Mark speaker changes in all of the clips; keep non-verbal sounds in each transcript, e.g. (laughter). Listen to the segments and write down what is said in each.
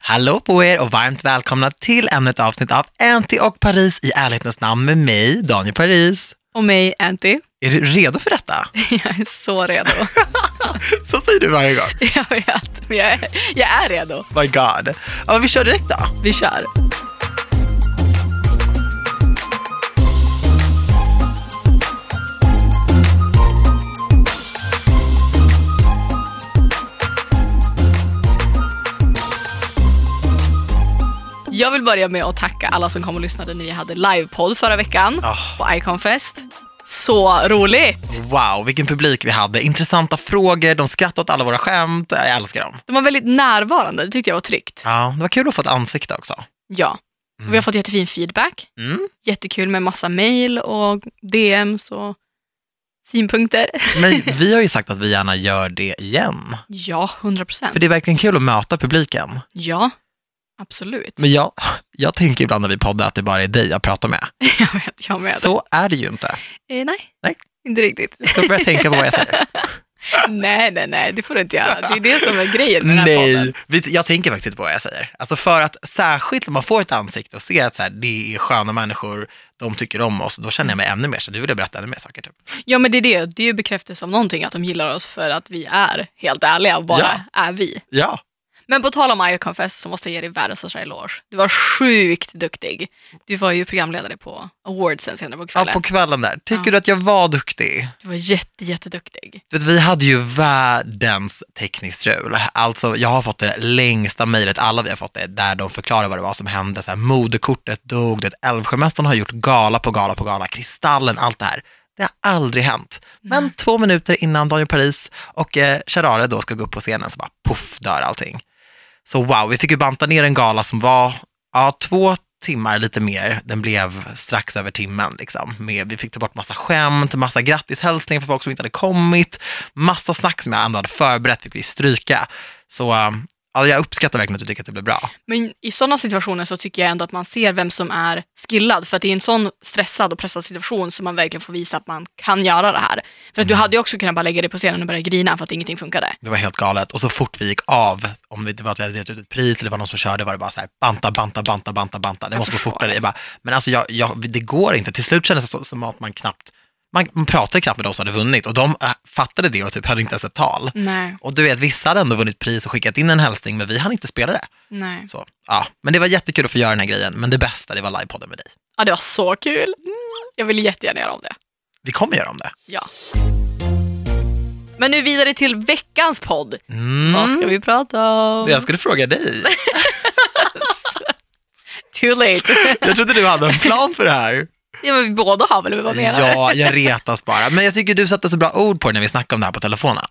Speaker 1: Hallå på er och varmt välkomna till ännu ett avsnitt av Anty och Paris i ärlighetens namn med mig, Daniel Paris.
Speaker 2: Och mig, Anty. (laughs)
Speaker 1: Är du redo för detta?
Speaker 2: Jag är så redo.
Speaker 1: (laughs)
Speaker 2: (laughs)
Speaker 1: Så säger du varje gång.
Speaker 2: Jag vet, men jag är, jag är redo.
Speaker 1: My God. Ja, men vi kör direkt då.
Speaker 2: Vi kör. Jag vill börja med att tacka alla som kom och lyssnade när vi hade livepodd förra veckan
Speaker 1: Ah.
Speaker 2: på Iconfest. Så roligt!
Speaker 1: Wow, vilken publik vi hade. Intressanta frågor, de skrattade åt alla våra skämt. Jag älskar dem.
Speaker 2: De var väldigt närvarande, det tyckte jag var tryggt.
Speaker 1: Ja, det var kul att få ett ansikte också.
Speaker 2: Ja.
Speaker 1: Mm.
Speaker 2: Vi har fått jättefin feedback.
Speaker 1: Mm.
Speaker 2: Jättekul med massa mail och DMs och synpunkter. (laughs)
Speaker 1: Men vi har ju sagt att vi gärna gör det igen.
Speaker 2: Ja, 100
Speaker 1: För
Speaker 2: procent.
Speaker 1: det är verkligen kul att möta publiken.
Speaker 2: Ja, absolut.
Speaker 1: Men jag, jag tänker ibland när vi poddar att det bara är dig jag pratar med.
Speaker 2: (laughs) Jag vet, jag med.
Speaker 1: Så är det ju inte.
Speaker 2: Eh, nej.
Speaker 1: Nej. (laughs)
Speaker 2: inte riktigt.
Speaker 1: Jag ska börja tänka på vad jag säger.
Speaker 2: nej, nej, nej, det får du inte göra. Det är det som är grejen med den här podden.
Speaker 1: Nej, vi- jag tänker faktiskt inte på vad jag säger. Alltså för att särskilt när man får ett ansikte och ser att så här, det är sköna människor, de tycker om oss, då känner jag mig ännu mer så du vill jag berätta ännu mer saker. Typ.
Speaker 2: Ja, men det är det. Det är ju bekräftelse av någonting att de gillar oss för att vi är helt ärliga och bara
Speaker 1: Ja.
Speaker 2: är vi.
Speaker 1: Ja,
Speaker 2: Men på tal om I Confess så måste jag ge dig världens största eloge. Du var sjukt duktig. Du var ju programledare på Awardsen senare på
Speaker 1: ja,
Speaker 2: kvällen.
Speaker 1: på kvällen där. Tycker
Speaker 2: Ja.
Speaker 1: du att jag var duktig?
Speaker 2: Du var jätte, jätteduktig.
Speaker 1: Du vet, vi hade ju världens tekniskt strul. Alltså, jag har fått det längsta mejlet, alla vi har fått det, där de förklarar vad det var som hände. Så här, moderkortet dog, det Älvsjömästaren har gjort gala på gala på gala, Kristallen, allt det här. Det har aldrig hänt. Men två minuter innan Daniel Paris och eh, Charare då ska gå upp på scenen så bara poff dör allting. Så wow, vi fick ju banta ner en gala som var ja, två timmar lite mer. Den blev strax över timmen. Liksom. Med, vi fick ta bort massa skämt, massa grattishälsningar för folk som inte hade kommit. Massa snack som jag ändå hade förberett fick vi stryka. Så um, ja, jag uppskattar verkligen att du tycker att det blev bra.
Speaker 2: Men i sådana situationer så tycker jag ändå att man ser vem som är skillad. För att det är en sån stressad och pressad situation som man verkligen får visa att man kan göra det här. För att du hade ju också kunnat bara lägga dig på scenen och börja grina för att ingenting funkade.
Speaker 1: Det var helt galet. Och så fort vi gick av, om det var att vi hade delat ut ett pris eller det var någon som körde, var det bara så här, banta, banta, banta, banta, banta. Det
Speaker 2: Jag
Speaker 1: måste gå
Speaker 2: förstår.
Speaker 1: fortare. Jag bara, men alltså, jag, jag, det går inte. Till slut kändes det så, som att man knappt, man, man pratade knappt med de som hade vunnit och de äh, fattade det och typ höll inte ens ett tal.
Speaker 2: Nej,
Speaker 1: Och du vet, vissa hade ändå vunnit pris och skickat in en hälsning, men vi hann inte spela det.
Speaker 2: nej.
Speaker 1: Så, ja. Men det var jättekul att få göra den här grejen, men det bästa, det var livepodden med dig.
Speaker 2: Ja, det var så kul. Jag vill jättegärna göra om det.
Speaker 1: Vi kommer göra om det.
Speaker 2: Ja. Men nu vidare till veckans podd.
Speaker 1: Mm.
Speaker 2: Vad ska vi prata om?
Speaker 1: Jag skulle fråga dig. (laughs)
Speaker 2: Too late.
Speaker 1: Jag trodde du hade en plan för det här.
Speaker 2: ja, men vi båda har väl (laughs) vad menar du?
Speaker 1: Ja, jag retas bara. Men jag tycker du satte så bra ord på det när vi snackade om det här på telefonen.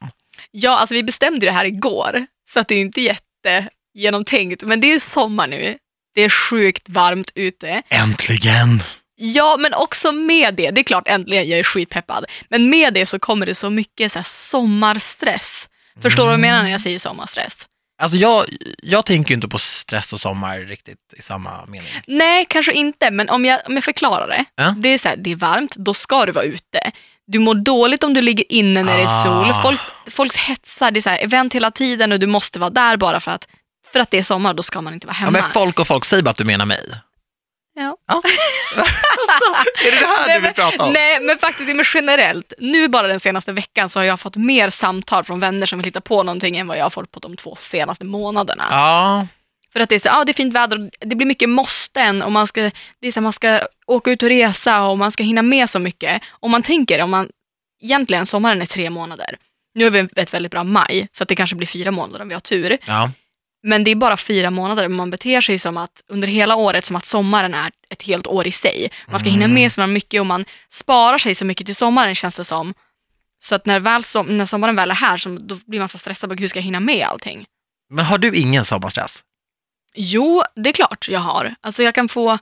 Speaker 2: Ja, alltså vi bestämde ju det här igår, så att det är ju inte jättegenomtänkt. Men det är ju sommar nu. Det är sjukt varmt ute.
Speaker 1: Äntligen!
Speaker 2: Ja, men också med det. Det är klart, äntligen, jag är skitpeppad. Men med det så kommer det så mycket så här, sommarstress. Förstår du vad jag menar när
Speaker 1: Mm.
Speaker 2: jag säger sommarstress?
Speaker 1: Alltså jag, jag tänker ju inte på stress och sommar riktigt i samma mening.
Speaker 2: Nej, kanske inte, men om jag, om jag förklarar det.
Speaker 1: Ja.
Speaker 2: Det är så här, det är varmt, då ska du vara ute. Du mår dåligt om du ligger inne när det är sol.
Speaker 1: Ah.
Speaker 2: Folk, folk hetsar, det är så här, event hela tiden och du måste vara där bara för att, för att det är sommar, då ska man inte vara
Speaker 1: Ja,
Speaker 2: hemma.
Speaker 1: men folk och folk, säg bara att du menar mig.
Speaker 2: Ja. (laughs) Alltså,
Speaker 1: Är det det här
Speaker 2: Nej,
Speaker 1: du vill
Speaker 2: men-
Speaker 1: prata om?
Speaker 2: Nej, men faktiskt men generellt. Nu bara den senaste veckan så har jag fått mer samtal från vänner som vill hitta på någonting än vad jag har fått på de två senaste månaderna.
Speaker 1: Ja,
Speaker 2: För att det är så, ah, det är fint väder och det blir mycket måsten och man ska, det är så, här, man ska åka ut och resa och man ska hinna med så mycket. Om man tänker, om man, egentligen sommaren är tre månader. Nu har vi ett väldigt bra maj, så att det kanske blir fyra månader om vi har tur.
Speaker 1: ja.
Speaker 2: Men det är bara fyra månader, men man beter sig som att under hela året som att sommaren är ett helt år i sig. Man ska hinna
Speaker 1: Mm.
Speaker 2: med så mycket och man sparar sig så mycket till sommaren känns det som. Så att när, väl som, när sommaren väl är här så då blir man så stressad, bara, hur ska jag hinna med allting?
Speaker 1: Men har du ingen sommarstress?
Speaker 2: Jo, det är klart jag har. Alltså jag kan få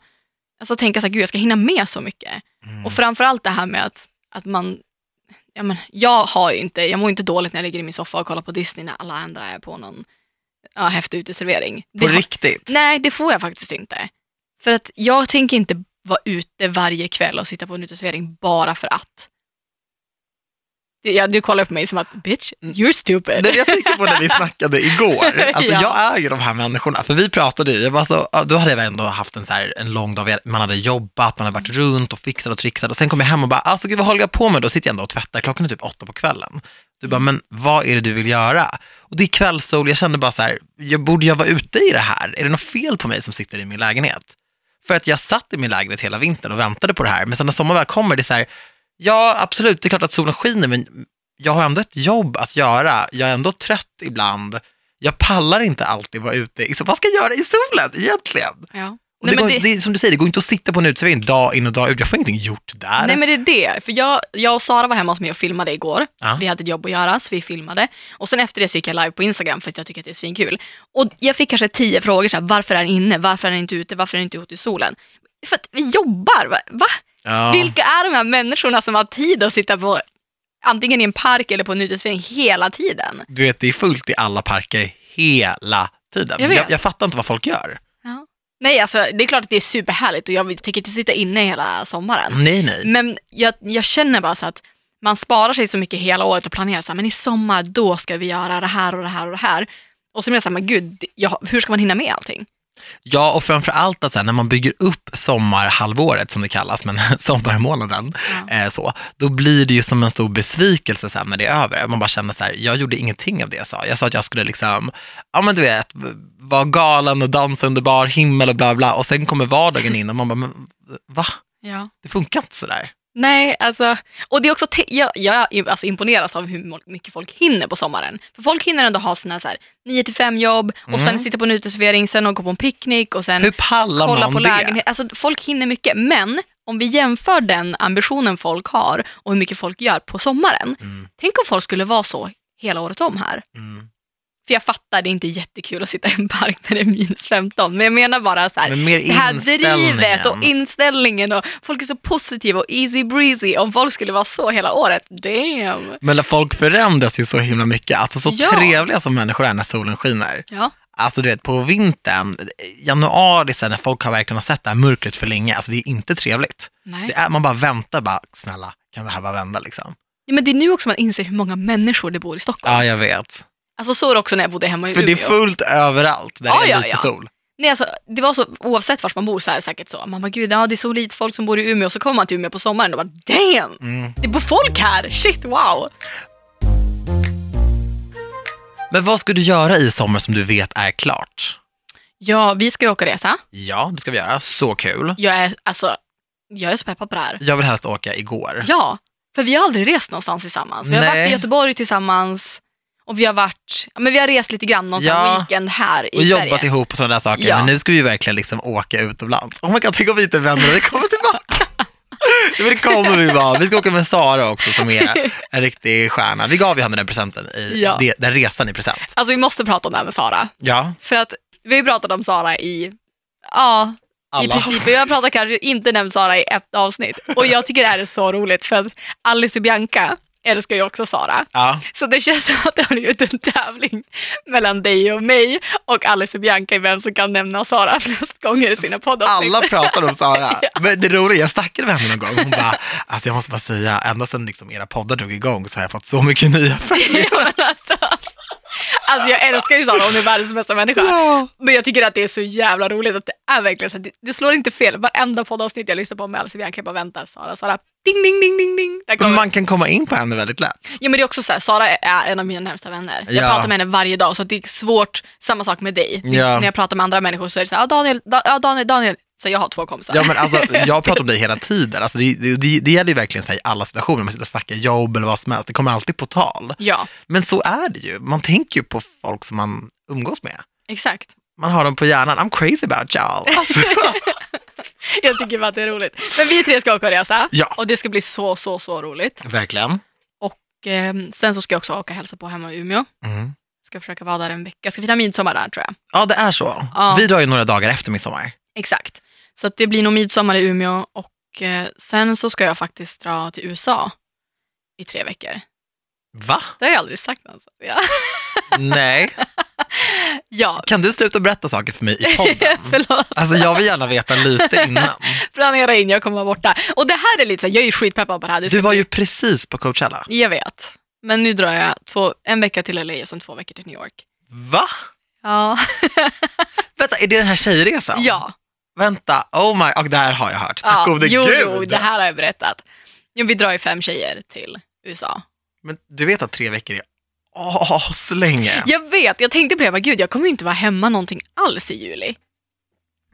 Speaker 2: alltså tänka så här, gud jag ska hinna med så mycket.
Speaker 1: Mm.
Speaker 2: Och framförallt det här med att, att man, ja, men, jag har ju inte, jag mår inte dåligt när jag ligger i min soffa och kollar på Disney när alla andra är på någon ja, häftig uteservering. Det
Speaker 1: På
Speaker 2: har-
Speaker 1: riktigt?
Speaker 2: Nej, det får jag faktiskt inte. För att jag tänker inte vara ute varje kväll och sitta på en uteservering bara för att. Du- Ja, du kollar på mig som att bitch,
Speaker 1: Mm.
Speaker 2: you're stupid.
Speaker 1: Nej, men jag tänker på när vi snackade igår. Alltså,
Speaker 2: Ja.
Speaker 1: Jag är ju de här människorna, för vi pratade ju, jag bara så, ja, då hade jag ändå haft en, så här, en lång dag, man hade jobbat, man hade varit runt och fixat och trixat och sen kom jag hem och bara, alltså gud vad håller jag på med? Då sitter jag ändå och tvättar, klockan är typ åtta på kvällen. Du bara, men vad är det du vill göra? Och det är kvällssol, jag kände bara så här, jag, borde jag vara ute i det här? Är det något fel på mig som sitter i min lägenhet? För att jag satt i min lägenhet hela vintern och väntade på det här, men sen när sommaren väl kommer, det är så här, ja absolut, det är klart att solen skiner, men jag har ändå ett jobb att göra, jag är ändå trött ibland, jag pallar inte alltid vara ute. Så vad ska jag göra i solen egentligen?
Speaker 2: Ja.
Speaker 1: Och det,
Speaker 2: Nej, men
Speaker 1: går,
Speaker 2: det-
Speaker 1: det... är som du säger, det går inte att sitta på en uteservering dag in och dag ut. Jag får ingenting gjort där.
Speaker 2: Nej men det är det, för jag, jag och Sara var hemma hos mig och filmade igår.
Speaker 1: Ja.
Speaker 2: Vi hade ett jobb att göra så vi filmade. Och sen efter det så gick jag live på Instagram för att jag tycker att det är svinkul. Och jag fick kanske tio frågor, så här, varför är han inne, varför är han inte ute, varför är han inte ute i solen? För att vi jobbar, va? va?
Speaker 1: ja.
Speaker 2: Vilka är de här människorna som har tid att sitta på antingen i en park eller på en uteservering hela tiden?
Speaker 1: Du vet, det är fullt i alla parker hela tiden.
Speaker 2: Jag
Speaker 1: Jag,
Speaker 2: vet.
Speaker 1: jag, fattar inte vad folk gör.
Speaker 2: Nej alltså det är klart att det är superhärligt och jag tänker inte sitta inne hela sommaren.
Speaker 1: Nej, nej.
Speaker 2: Men jag, jag känner bara så att man sparar sig så mycket hela året och planerar så här, men i sommar då ska vi göra det här och det här och det här. Och så blir jag så här, men gud, jag, hur ska man hinna med allting?
Speaker 1: Ja, och framför allt att så här, när man bygger upp sommarhalvåret, som det kallas, men (laughs) sommarmånaden,
Speaker 2: Ja.
Speaker 1: eh, så, då blir det ju som en stor besvikelse sen när det är över. Man bara känner så här, jag gjorde ingenting av det jag sa. Jag sa att jag skulle liksom, ja men du vet, vara galen och dansa under bar himmel och bla bla. Och sen kommer vardagen in och man bara, men va?
Speaker 2: Ja.
Speaker 1: Det funkar inte sådär.
Speaker 2: Nej, alltså, och det är också, te- jag, jag alltså, imponeras av hur mo- mycket folk hinner på sommaren. För folk hinner ändå ha sina så här 9 till 5 jobb och sen
Speaker 1: Mm.
Speaker 2: sitta på en uteservering, sen gå på en picknick och sen
Speaker 1: Hur pallar
Speaker 2: kolla
Speaker 1: man
Speaker 2: på
Speaker 1: det?
Speaker 2: lägenhet. Alltså, folk hinner mycket, men om vi jämför den ambitionen folk har och hur mycket folk gör på sommaren.
Speaker 1: Mm,
Speaker 2: Tänk om folk skulle vara så hela året om här.
Speaker 1: mm.
Speaker 2: För jag fattar, det är inte jättekul att sitta i en park när det är minus 15, men jag menar bara så här,
Speaker 1: Men mer
Speaker 2: det här
Speaker 1: inställningen.
Speaker 2: drivet och inställningen och folk är så positiva och easy breezy. Om folk skulle vara så hela året, damn!
Speaker 1: Men folk förändras ju så himla mycket. Alltså så
Speaker 2: Ja.
Speaker 1: trevliga som människor är när solen skiner.
Speaker 2: Ja,
Speaker 1: Alltså du vet på vintern, januari sen när folk har verkligen har sett det här mörkret för länge, alltså det är inte trevligt.
Speaker 2: nej.
Speaker 1: Det är, man bara väntar bara, snälla kan det här bara vända liksom?
Speaker 2: Ja, men det är nu också man inser hur många människor det bor i Stockholm.
Speaker 1: Ja jag vet.
Speaker 2: Alltså så var det också när jag bodde hemma i
Speaker 1: För det
Speaker 2: Umeå.
Speaker 1: är fullt överallt där
Speaker 2: Ja,
Speaker 1: det är
Speaker 2: ja,
Speaker 1: lite
Speaker 2: ja.
Speaker 1: sol.
Speaker 2: Nej, alltså, det var så, oavsett vart man bor så är det säkert så. Man bara, gud, ja, det är så lite folk som bor i Umeå. Så kommer man till Umeå på sommaren och bara, damn!
Speaker 1: Mm.
Speaker 2: Det bor folk här! Shit, wow!
Speaker 1: Men vad ska du göra i sommar som du vet är klart?
Speaker 2: Ja, vi ska ju åka och resa.
Speaker 1: Ja, det ska vi göra. Så kul.
Speaker 2: Jag är, alltså, jag är så peppad på det här.
Speaker 1: Jag vill helst åka igår.
Speaker 2: Ja, för vi har aldrig rest någonstans tillsammans. Vi har
Speaker 1: Nej.
Speaker 2: varit i Göteborg tillsammans och vi har varit, ja, men vi har rest lite grann någon sån här
Speaker 1: Ja.
Speaker 2: weekend här i
Speaker 1: och
Speaker 2: Sverige.
Speaker 1: jobbat ihop och sådana där saker.
Speaker 2: Ja.
Speaker 1: Men nu ska vi ju verkligen liksom åka utomlands. Oh my god, tänk om vi inte vänder vi kommer
Speaker 2: (laughs)
Speaker 1: tillbaka. Men det kommer vi vara. Vi ska åka med Sara också som
Speaker 2: (laughs)
Speaker 1: är en riktig stjärna. Vi gav ju henne den presenten, i,
Speaker 2: Ja.
Speaker 1: det- den resan i present.
Speaker 2: Alltså vi måste prata om det här med Sara.
Speaker 1: Ja,
Speaker 2: För att vi har ju pratat om Sara i, ja,
Speaker 1: alla.
Speaker 2: i princip. Jag pratar kanske inte nämnt Sara i ett avsnitt. Och jag tycker det här är så roligt för att Alice och Bianca älskar ju också Sara.
Speaker 1: Ja.
Speaker 2: Så det känns som att det har blivit en tävling mellan dig och mig och Alice och Bianca i vem som kan nämna Sara (laughs) flest gånger i sina poddavsnitt.
Speaker 1: Alla pratar om
Speaker 2: (laughs)
Speaker 1: Sara. Men det roliga, jag snackade med henne någon gång. Hon bara, alltså jag måste bara säga, ända sedan liksom era poddar drog igång så har jag fått så mycket nya följare.
Speaker 2: (laughs) Ja, men alltså, alltså jag älskar ju Sara, hon är världens bästa människa.
Speaker 1: Ja.
Speaker 2: Men jag tycker att det är så jävla roligt att det är verkligen så. här, Det, det slår inte fel. Varenda poddavsnitt jag lyssnar på med Alice och Bianca, jag bara väntar. Sara, Sara. Ding, ding, ding, ding, ding. Där
Speaker 1: Men
Speaker 2: kommer.
Speaker 1: man kan komma in på henne väldigt lätt.
Speaker 2: Jo, men det är också så här, Sara är en av mina närmsta vänner. Jag
Speaker 1: Ja.
Speaker 2: pratar med henne varje dag, så att det är svårt. Samma sak med dig.
Speaker 1: Ja.
Speaker 2: När jag pratar med andra människor så är det så här, ja Daniel, da, ja, Daniel, Daniel. Så jag har två kompisar.
Speaker 1: Ja, men alltså, jag pratar om dig hela tiden. Alltså, det, det, det, det gäller ju verkligen så här, i alla situationer, man sitter och snackar jobb eller vad som helst, det kommer alltid på tal.
Speaker 2: ja,
Speaker 1: Men så är det ju, man tänker ju på folk som man umgås med.
Speaker 2: exakt. (laughs)
Speaker 1: Man har dem på hjärnan, I'm crazy about y'all. Alltså,
Speaker 2: Jag tycker bara att det är roligt. Men vi tre ska åka och resa.
Speaker 1: Ja.
Speaker 2: Och det ska bli så, så, så roligt.
Speaker 1: verkligen.
Speaker 2: Och, eh, sen så ska jag också åka och hälsa på hemma i Umeå.
Speaker 1: Mm.
Speaker 2: Ska försöka vara där en vecka. Ska fira midsommar där tror jag.
Speaker 1: Ja, det är så.
Speaker 2: Ja.
Speaker 1: Vi drar ju några dagar efter midsommar.
Speaker 2: Exakt. Så att det blir nog midsommar i Umeå och eh, sen så ska jag faktiskt dra till USA i tre veckor.
Speaker 1: Va?
Speaker 2: Det har jag aldrig sagt alltså. Ja.
Speaker 1: Nej.
Speaker 2: (laughs) Ja,
Speaker 1: Kan du sluta berätta saker för mig i
Speaker 2: (laughs)
Speaker 1: podden?
Speaker 2: förlåt.
Speaker 1: Alltså jag vill gärna veta
Speaker 2: (laughs)
Speaker 1: lite innan.
Speaker 2: Planera in, jag kommer vara borta. Och det här är lite så här, jag är ju skitpeppad på det här. Det ska
Speaker 1: Du var ju precis på Coachella.
Speaker 2: Jag vet. Men nu drar jag två, en vecka till LA och sen två veckor till New York.
Speaker 1: Va?
Speaker 2: Ja.
Speaker 1: Vänta, är det den här tjejresan?
Speaker 2: ja.
Speaker 1: Vänta, oh my, och det här har jag hört. Tack gode
Speaker 2: jo,
Speaker 1: gud.
Speaker 2: jo, det här har jag berättat. Jo, vi drar ju fem tjejer till USA.
Speaker 1: Men du vet att tre veckor är aslänge.
Speaker 2: Jag vet, jag tänkte på det, jag bara, gud jag kommer ju inte vara hemma någonting alls i juli.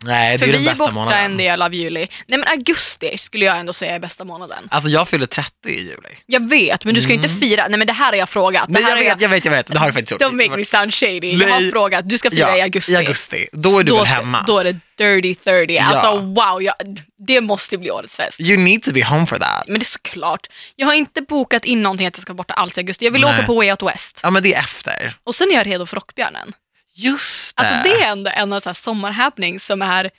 Speaker 1: Nej, det
Speaker 2: För
Speaker 1: är ju den
Speaker 2: vi är
Speaker 1: bästa
Speaker 2: borta
Speaker 1: månaden.
Speaker 2: en del av juli. Nej men augusti skulle jag ändå säga är bästa månaden.
Speaker 1: Alltså jag fyller 30 i juli.
Speaker 2: Jag vet, men du ska ju
Speaker 1: Mm.
Speaker 2: inte fira, nej men det här har jag frågat. Det
Speaker 1: Nej,
Speaker 2: här
Speaker 1: jag
Speaker 2: har
Speaker 1: vet, jag vet, jag vet. Det har jag faktiskt gjort.
Speaker 2: Don't make me sound shady. Jag har
Speaker 1: Nej.
Speaker 2: frågat, du ska fira
Speaker 1: ja,
Speaker 2: i augusti.
Speaker 1: I augusti. Då är du
Speaker 2: då,
Speaker 1: väl
Speaker 2: ska-
Speaker 1: hemma?
Speaker 2: Då är det dirty 30. Alltså
Speaker 1: Ja.
Speaker 2: wow, jag, det måste bli årets fest.
Speaker 1: You need to be home for that.
Speaker 2: Men det är såklart. Jag har inte bokat in någonting att jag ska vara borta alls i augusti. Jag vill
Speaker 1: Nej.
Speaker 2: åka på Way Out West.
Speaker 1: Ja, men det är efter.
Speaker 2: Och sen är jag redo för Rockbjörnen.
Speaker 1: Just det.
Speaker 2: Alltså det är ändå en av så här sommarhappenings som är...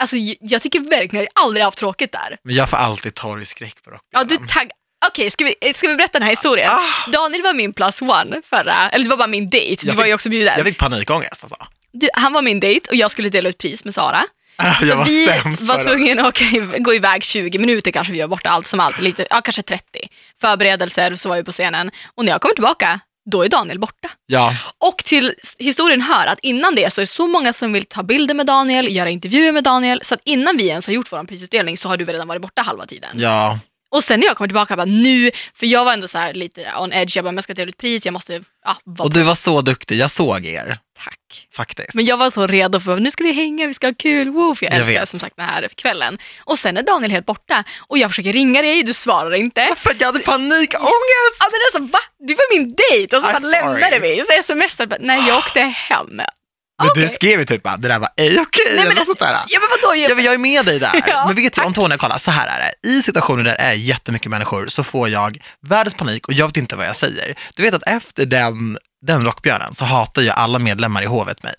Speaker 2: Alltså j- jag tycker verkligen, jag har aldrig haft tråkigt där.
Speaker 1: Men jag får alltid torgskräck på
Speaker 2: Ja,
Speaker 1: Rockbjörnen.
Speaker 2: du tagg... Okej, ska, vi, eh, ska vi berätta den här historien?
Speaker 1: ah,
Speaker 2: Daniel var min plus one förra, eller det var bara min dejt, du
Speaker 1: Jag
Speaker 2: var
Speaker 1: fick-
Speaker 2: ju också bjuden.
Speaker 1: jag fick panikångest alltså. (laughs)
Speaker 2: Du, han var min dejt och jag skulle dela ut pris med Sara.
Speaker 1: Ah, Jag
Speaker 2: Så
Speaker 1: var
Speaker 2: vi
Speaker 1: sämst
Speaker 2: var
Speaker 1: förra-
Speaker 2: tvungna att åka, i- gå iväg 20 minuter kanske vi gör borta allt som allt, lite, ja kanske 30. Förberedelser, så var vi på scenen. Och när jag kommer tillbaka, då är Daniel borta.
Speaker 1: Ja,
Speaker 2: Och till s- historien hör att innan det så är det så många som vill ta bilder med Daniel, göra intervjuer med Daniel, så att innan vi ens har gjort vår prisutdelning så har du väl redan varit borta halva tiden.
Speaker 1: ja.
Speaker 2: Och sen när jag kommer tillbaka, jag bara nu, för jag var ändå så här lite on edge, jag bara, men jag ska dela ut pris, jag måste, ja,
Speaker 1: Och
Speaker 2: vad
Speaker 1: du var så duktig. Jag såg er
Speaker 2: tack.
Speaker 1: faktiskt.
Speaker 2: Men jag var så redo för nu ska vi hänga, vi ska ha kul, woo, för jag,
Speaker 1: Jag
Speaker 2: älskar
Speaker 1: vet.
Speaker 2: som sagt den här kvällen. Och sen är Daniel helt borta och jag försöker ringa dig, du svarar inte.
Speaker 1: För att jag hade panikångest!
Speaker 2: Ja, men alltså, va? Du var min dejt och så
Speaker 1: I'm
Speaker 2: bara
Speaker 1: Ah, sorry.
Speaker 2: lämnade vi. Så smsade bara, nej jag åkte hem.
Speaker 1: Men du
Speaker 2: Okej.
Speaker 1: skrev ju typ bara, det där var ej okej
Speaker 2: men
Speaker 1: eller något
Speaker 2: alltså,
Speaker 1: sånt där.
Speaker 2: Ja men vadå?
Speaker 1: Jag, jag är med dig där.
Speaker 2: (laughs) Ja,
Speaker 1: men vet du
Speaker 2: tack.
Speaker 1: Antonija, kolla, så här är det. I situationer där det är jättemycket människor så får jag världens panik och jag vet inte vad jag säger. Du vet att efter den, den rockbjörnen så hatar ju alla medlemmar i hovet mig.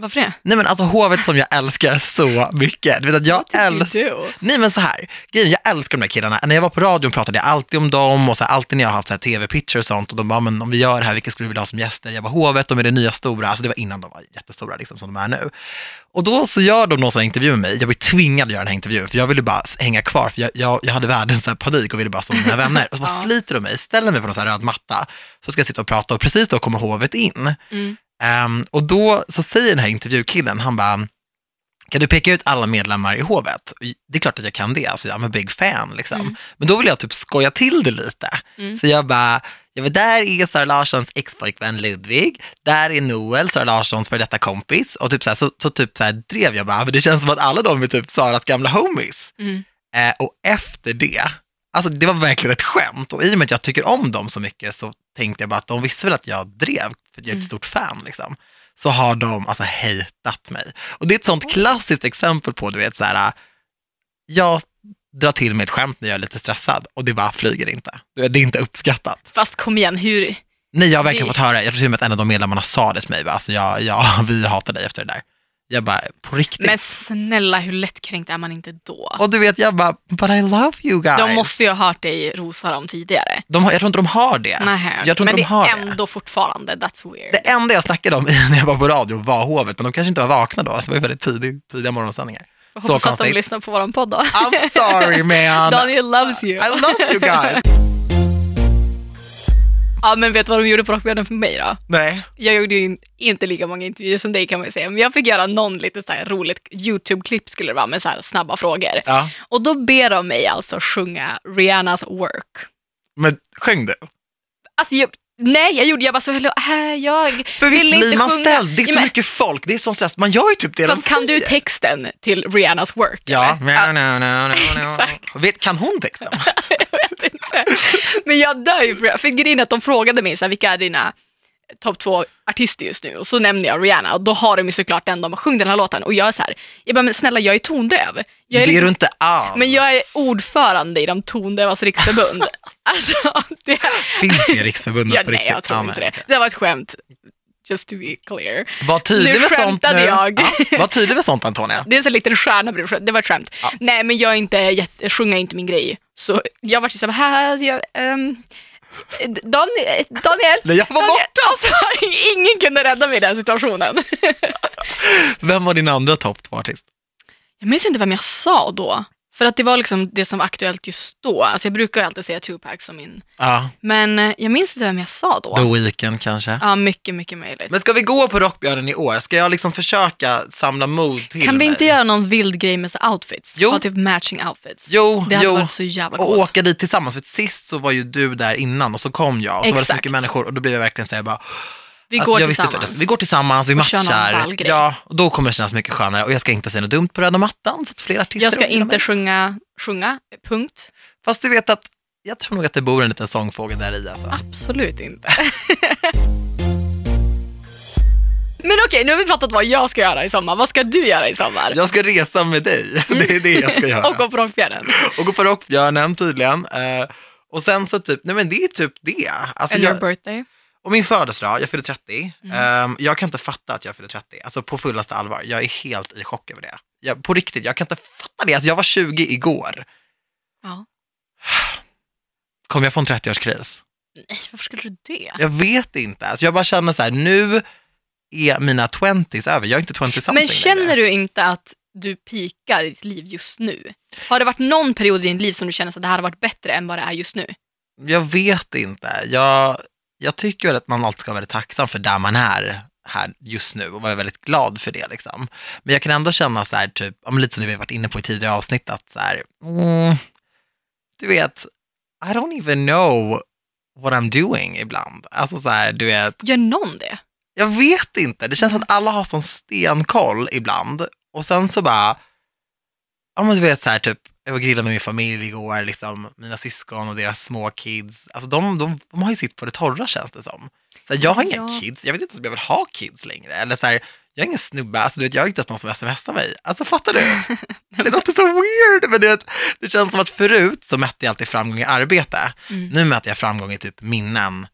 Speaker 2: Varför det?
Speaker 1: Nej men alltså hovet som jag älskar så mycket. Du vet att jag
Speaker 2: What did you
Speaker 1: älskar...
Speaker 2: do?
Speaker 1: Nej men så här, grejen, jag älskar de där killarna. När jag var på radion pratade jag alltid om dem och så här, alltid när jag har haft så här tv-pitcher och sånt och de bara, men om vi gör det här, vilka skulle du vilja ha som gäster? Jag bara, hovet, de är det nya stora. Alltså det var innan de var jättestora liksom som de är nu. Och då så gör de någon sån här intervju med mig. Jag blir tvingad att göra den här intervjun för jag ville bara hänga kvar för jag, jag, jag hade världens så här panik och ville bara stå med mina vänner. Och så bara
Speaker 2: Ja.
Speaker 1: sliter de mig, ställer mig på någon så här röd matta så ska jag sitta och prata och precis då kommer hovet in.
Speaker 2: Mm.
Speaker 1: Ehm, och då så säger den här intervjukillen, han bara, kan du peka ut alla medlemmar i hovet? Och Det är klart att jag kan det, alltså jag är en big fan liksom.
Speaker 2: Mm.
Speaker 1: Men då vill jag typ skoja till det lite.
Speaker 2: Mm.
Speaker 1: Så jag bara, jag vet, där är Sara Larssons ex-pojkvän Ludvig, där är Noel, Sara Larssons för detta kompis. Och typ så, här, så, så typ så här drev jag bara, men det känns som att alla de är typ Saras gamla homies.
Speaker 2: Mm.
Speaker 1: Eh, och efter det, alltså det var verkligen ett skämt och i och med att jag tycker om dem så mycket så tänkte jag bara att de visste väl att jag drev, för jag är ett
Speaker 2: Mm.
Speaker 1: stort fan liksom. Så har de alltså hejtat mig. Och det är ett sånt klassiskt exempel på, du vet så här, jag drar till med ett skämt när jag är lite stressad och det bara flyger inte. Du vet, Det är inte uppskattat.
Speaker 2: Fast kom igen, hur?
Speaker 1: Nej, jag har verkligen
Speaker 2: Det-
Speaker 1: fått höra, jag tror till och med att en av de medlemmarna sa det till mig, bara, alltså jag, jag, (laughs) vi hatar dig efter det där. Jag bara, på riktigt.
Speaker 2: Men snälla hur lättkränkt är man inte då?
Speaker 1: Och du vet, jag bara, but I love you guys.
Speaker 2: De måste ju ha hört dig rosa dem tidigare.
Speaker 1: De har, jag tror inte de har det.
Speaker 2: Nähä,
Speaker 1: Jag tror
Speaker 2: men
Speaker 1: inte de har
Speaker 2: det
Speaker 1: det.
Speaker 2: är ändå fortfarande, that's weird.
Speaker 1: Det enda jag snackade om (laughs) när jag var på radio var hovet, men de kanske inte var vakna då. Det var ju väldigt tidig, tidiga morgonsändningar.
Speaker 2: Jag
Speaker 1: Så
Speaker 2: hoppas att de
Speaker 1: konstigt.
Speaker 2: lyssnar på vår podd då.
Speaker 1: I'm sorry man!
Speaker 2: (laughs) Daniel loves you.
Speaker 1: I love you guys!
Speaker 2: Ja, men vet du vad de gjorde på Rockbjörnen för mig då?
Speaker 1: Nej,
Speaker 2: Jag gjorde ju in, inte lika många intervjuer som dig kan man ju säga, men jag fick göra någon lite så här roligt YouTube-klipp skulle det vara med så här snabba frågor.
Speaker 1: ja.
Speaker 2: Och då ber de mig alltså sjunga Rihannas Work.
Speaker 1: Men sjöng du?
Speaker 2: Alltså, jag, nej, jag gjorde, jag bara så, hello, äh, jag
Speaker 1: För visst
Speaker 2: vill inte
Speaker 1: blir man
Speaker 2: sjunga.
Speaker 1: ställd, det är så
Speaker 2: Ja, men-
Speaker 1: mycket folk, det är sån stress, man gör ju typ det
Speaker 2: Fast
Speaker 1: de
Speaker 2: kan du
Speaker 1: säger.
Speaker 2: texten till Rihannas Work? (laughs)
Speaker 1: Ja,
Speaker 2: eller?
Speaker 1: no, no, no, no, no.
Speaker 2: Exakt.
Speaker 1: Vet, kan hon texten?
Speaker 2: vet inte. Men jag dör ju för, för grejen är att de frågade mig så här, vilka är dina topp två artister just nu och så nämnde jag Rihanna och då har de ju såklart den de har sjungit den här låten och jag är så här, jag bara men snälla jag är tondöv. Jag är
Speaker 1: det är
Speaker 2: liksom,
Speaker 1: du inte alls.
Speaker 2: men jag är ordförande i de tondövas riksförbund. (laughs) alltså, det,
Speaker 1: Finns det i Riksförbundet
Speaker 2: ja,
Speaker 1: på
Speaker 2: nej
Speaker 1: riktigt?
Speaker 2: jag tror
Speaker 1: Ja,
Speaker 2: inte
Speaker 1: men-
Speaker 2: det. Det var ett skämt. Just to be clear.
Speaker 1: Var tydlig
Speaker 2: Nu
Speaker 1: med sånt
Speaker 2: skämtade jag.
Speaker 1: Ja, var tydlig med sånt Antonia.
Speaker 2: Det är så en liten stjärna bredvid skämt. Det var ett skämt.
Speaker 1: Ja.
Speaker 2: typ Nej men jag är inte, jätte- sjunga är inte min grej. Så jag var så här, här jag, ehm, Daniel, (laughs) Daniel,
Speaker 1: Nej, jag var
Speaker 2: Daniel
Speaker 1: bort.
Speaker 2: alltså, (laughs) ingen kunde rädda mig i den situationen.
Speaker 1: Vem var din andra topp två-artist?
Speaker 2: Jag minns inte vem jag sa då. För att det var liksom det som var aktuellt just då. Alltså jag brukar ju alltid säga Tupac som min.
Speaker 1: Ja,
Speaker 2: Men eh, jag minns inte vem jag sa då.
Speaker 1: The Weeknd kanske.
Speaker 2: Ja, mycket, mycket möjligt.
Speaker 1: Men ska vi gå på Rockbjörnen i år? Ska jag liksom försöka samla mod till
Speaker 2: Kan vi
Speaker 1: mig?
Speaker 2: inte göra någon vild grej med så outfits?
Speaker 1: Jo.
Speaker 2: Ha typ matching outfits.
Speaker 1: Jo,
Speaker 2: Det hade
Speaker 1: jo.
Speaker 2: varit så jävla
Speaker 1: Och
Speaker 2: coolt.
Speaker 1: åka dit tillsammans. För att sist så var ju du där innan och så kom jag och så var det så
Speaker 2: Exakt.
Speaker 1: mycket människor och då blev jag verkligen såhär bara,
Speaker 2: Vi
Speaker 1: att
Speaker 2: går
Speaker 1: jag visste inte vad det-
Speaker 2: tillsammans.
Speaker 1: vi går tillsammans, vi
Speaker 2: Och kör någon
Speaker 1: matchar.
Speaker 2: ball grej.
Speaker 1: Ja, och då kommer det kännas mycket skönare och jag ska inte säga något dumt på röda mattan så att fler artister
Speaker 2: jag ska
Speaker 1: ogillar
Speaker 2: inte
Speaker 1: mig.
Speaker 2: sjunga, sjunga, punkt.
Speaker 1: Fast du vet att jag tror nog att det bor en liten sångfågel där i alltså.
Speaker 2: Mm. Absolut inte. (laughs) Men okej, nu har vi pratat vad jag ska göra i sommar. Vad ska du göra i sommar?
Speaker 1: Jag ska resa med dig, (laughs) det är det jag ska göra.
Speaker 2: Mm. (laughs)
Speaker 1: Alltså,
Speaker 2: Och gå på Rockfjärden.
Speaker 1: och gå på Rockbjörnen tydligen. Eh, och sen så typ, nej men det är typ det. Alltså
Speaker 2: And your
Speaker 1: jag,
Speaker 2: birthday.
Speaker 1: och min födelsedag, jag fyller 30.
Speaker 2: Mm.
Speaker 1: Ehm, jag kan inte fatta att jag fyller 30, alltså på fullaste allvar. Jag är helt i chock över det. Jag, på riktigt, jag kan inte fatta det. Alltså, jag var 20 igår.
Speaker 2: Ja.
Speaker 1: Kommer jag få en 30-årskris?
Speaker 2: Nej, varför skulle du det?
Speaker 1: Jag vet inte. Alltså, jag bara känner så här, nu är mina 20s över. Jag är inte 20 something
Speaker 2: Men känner du inte att du pikar i ditt liv just nu? Har det varit någon period i ditt liv som du känner att det här har varit bättre än vad det är just nu?
Speaker 1: Jag vet inte. Jag, jag tycker väl att man alltid ska vara väldigt tacksam för där man är här just nu och vara väldigt glad för det. Liksom. Men jag kan ändå känna så här, typ, ja, men lite som vi har varit inne på i tidigare avsnitt, att så här, mm, du vet, I don't even know what I'm doing ibland. Alltså så här, du vet,
Speaker 2: Gör någon det?
Speaker 1: jag vet inte. Det känns som att alla har sån stenkoll ibland. Och sen så bara, ja men du vet så här typ, jag var grillad med min familj igår, liksom, mina syskon och deras små kids. Alltså de, de, de har ju sitt på det torra känns det som. Så här, jag har inga
Speaker 2: Ja.
Speaker 1: kids, jag vet inte ens om jag vill ha kids längre. Eller så här, jag är ingen snubbe, alltså, du vet, jag är inte ens någon som smsar mig. Alltså fattar du?
Speaker 2: (laughs)
Speaker 1: Det låter så weird, men du vet, det känns som att förut så mätte jag alltid framgång i arbete.
Speaker 2: Mm.
Speaker 1: Nu mäter jag framgång i typ minnen,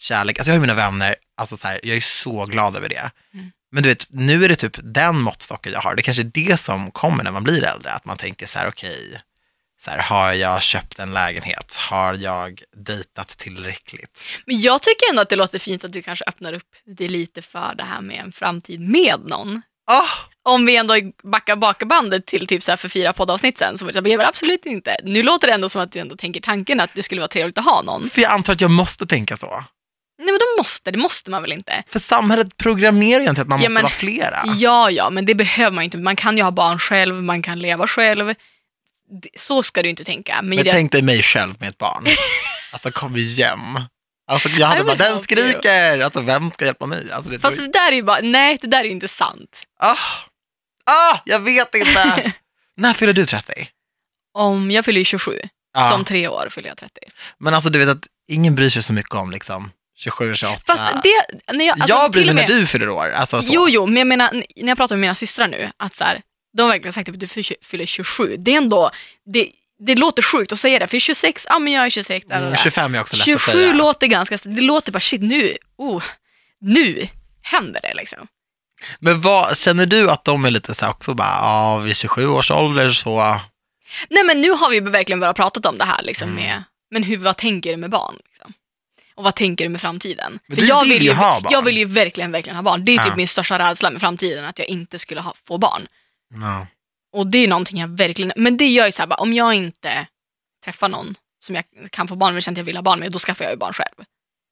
Speaker 1: kärlek. Alltså jag har ju mina vänner, alltså så här, jag är så glad över det.
Speaker 2: Mm.
Speaker 1: Men du vet, nu är det typ den måttstocken jag har. Det kanske är det som kommer när man blir äldre, att man tänker så här, okej, så här, har jag köpt en lägenhet? Har jag dejtat tillräckligt?
Speaker 2: Men jag tycker ändå att det låter fint att du kanske öppnar upp det lite för det här med en framtid med någon.
Speaker 1: Ah,
Speaker 2: Om vi ändå backar bakbandet till typ så här för fyra poddavsnitt sen så var det så här, "Men jag vill absolut inte. Nu låter det ändå som att du ändå tänker tanken att det skulle vara trevligt att ha någon.
Speaker 1: För jag antar att jag måste tänka så.
Speaker 2: Nej men de måste, det måste man väl inte?
Speaker 1: För samhället programmerar ju inte att man
Speaker 2: Ja,
Speaker 1: måste
Speaker 2: men-
Speaker 1: vara flera.
Speaker 2: Ja, ja, men det behöver man ju inte. Man kan ju ha barn själv, man kan leva själv. Det- Så ska du inte tänka. Men,
Speaker 1: Men
Speaker 2: det,
Speaker 1: tänk dig mig själv med ett
Speaker 2: (laughs)
Speaker 1: barn. Alltså kom igen. Alltså jag hade
Speaker 2: I
Speaker 1: bara,
Speaker 2: will
Speaker 1: den
Speaker 2: help
Speaker 1: skriker! Alltså vem ska hjälpa mig? Alltså, det,
Speaker 2: fast det där är ju bara, nej det där är ju inte sant.
Speaker 1: Ah! Ah! Jag vet inte! (laughs) När fyller du 30?
Speaker 2: Om, jag fyller ju 27,
Speaker 1: Ja.
Speaker 2: som tre år fyller jag 30.
Speaker 1: Men alltså du vet att ingen bryr sig så mycket om liksom 27, 28.
Speaker 2: Fast det, när jag, alltså,
Speaker 1: jag bryr
Speaker 2: till
Speaker 1: mig
Speaker 2: och
Speaker 1: när
Speaker 2: med,
Speaker 1: du fyller år. Alltså, så.
Speaker 2: Jo, jo, men jag menar, n- när jag pratar med mina systrar nu, att så här, de har verkligen sagt att du fyr- fyller 27. Det är ändå, det, det låter sjukt att säga det, för 26, ja men jag är 26, där, där,
Speaker 1: Mm,
Speaker 2: där.
Speaker 1: 25 är också lätt
Speaker 2: 27
Speaker 1: att säga.
Speaker 2: låter ganska, det låter bara shit nu, oh, nu händer det liksom.
Speaker 1: Men vad, känner du att de är lite så här också bara, ja vid 27 års ålder så,
Speaker 2: Nej men nu har vi verkligen bara pratat om det här liksom
Speaker 1: Mm.
Speaker 2: med, men hur, vad tänker du med barn? Liksom? Och vad tänker du med framtiden?
Speaker 1: Men du vill ju ha barn.
Speaker 2: jag vill ju verkligen, verkligen ha barn. Det är typ
Speaker 1: Ja.
Speaker 2: min största rädsla med framtiden, att jag inte skulle ha, få barn.
Speaker 1: no.
Speaker 2: Och det är någonting jag verkligen, men det gör ju så här, bara, om jag inte träffar någon som jag kan få barn med, känner att jag vill ha barn med, då skaffar jag ju barn själv.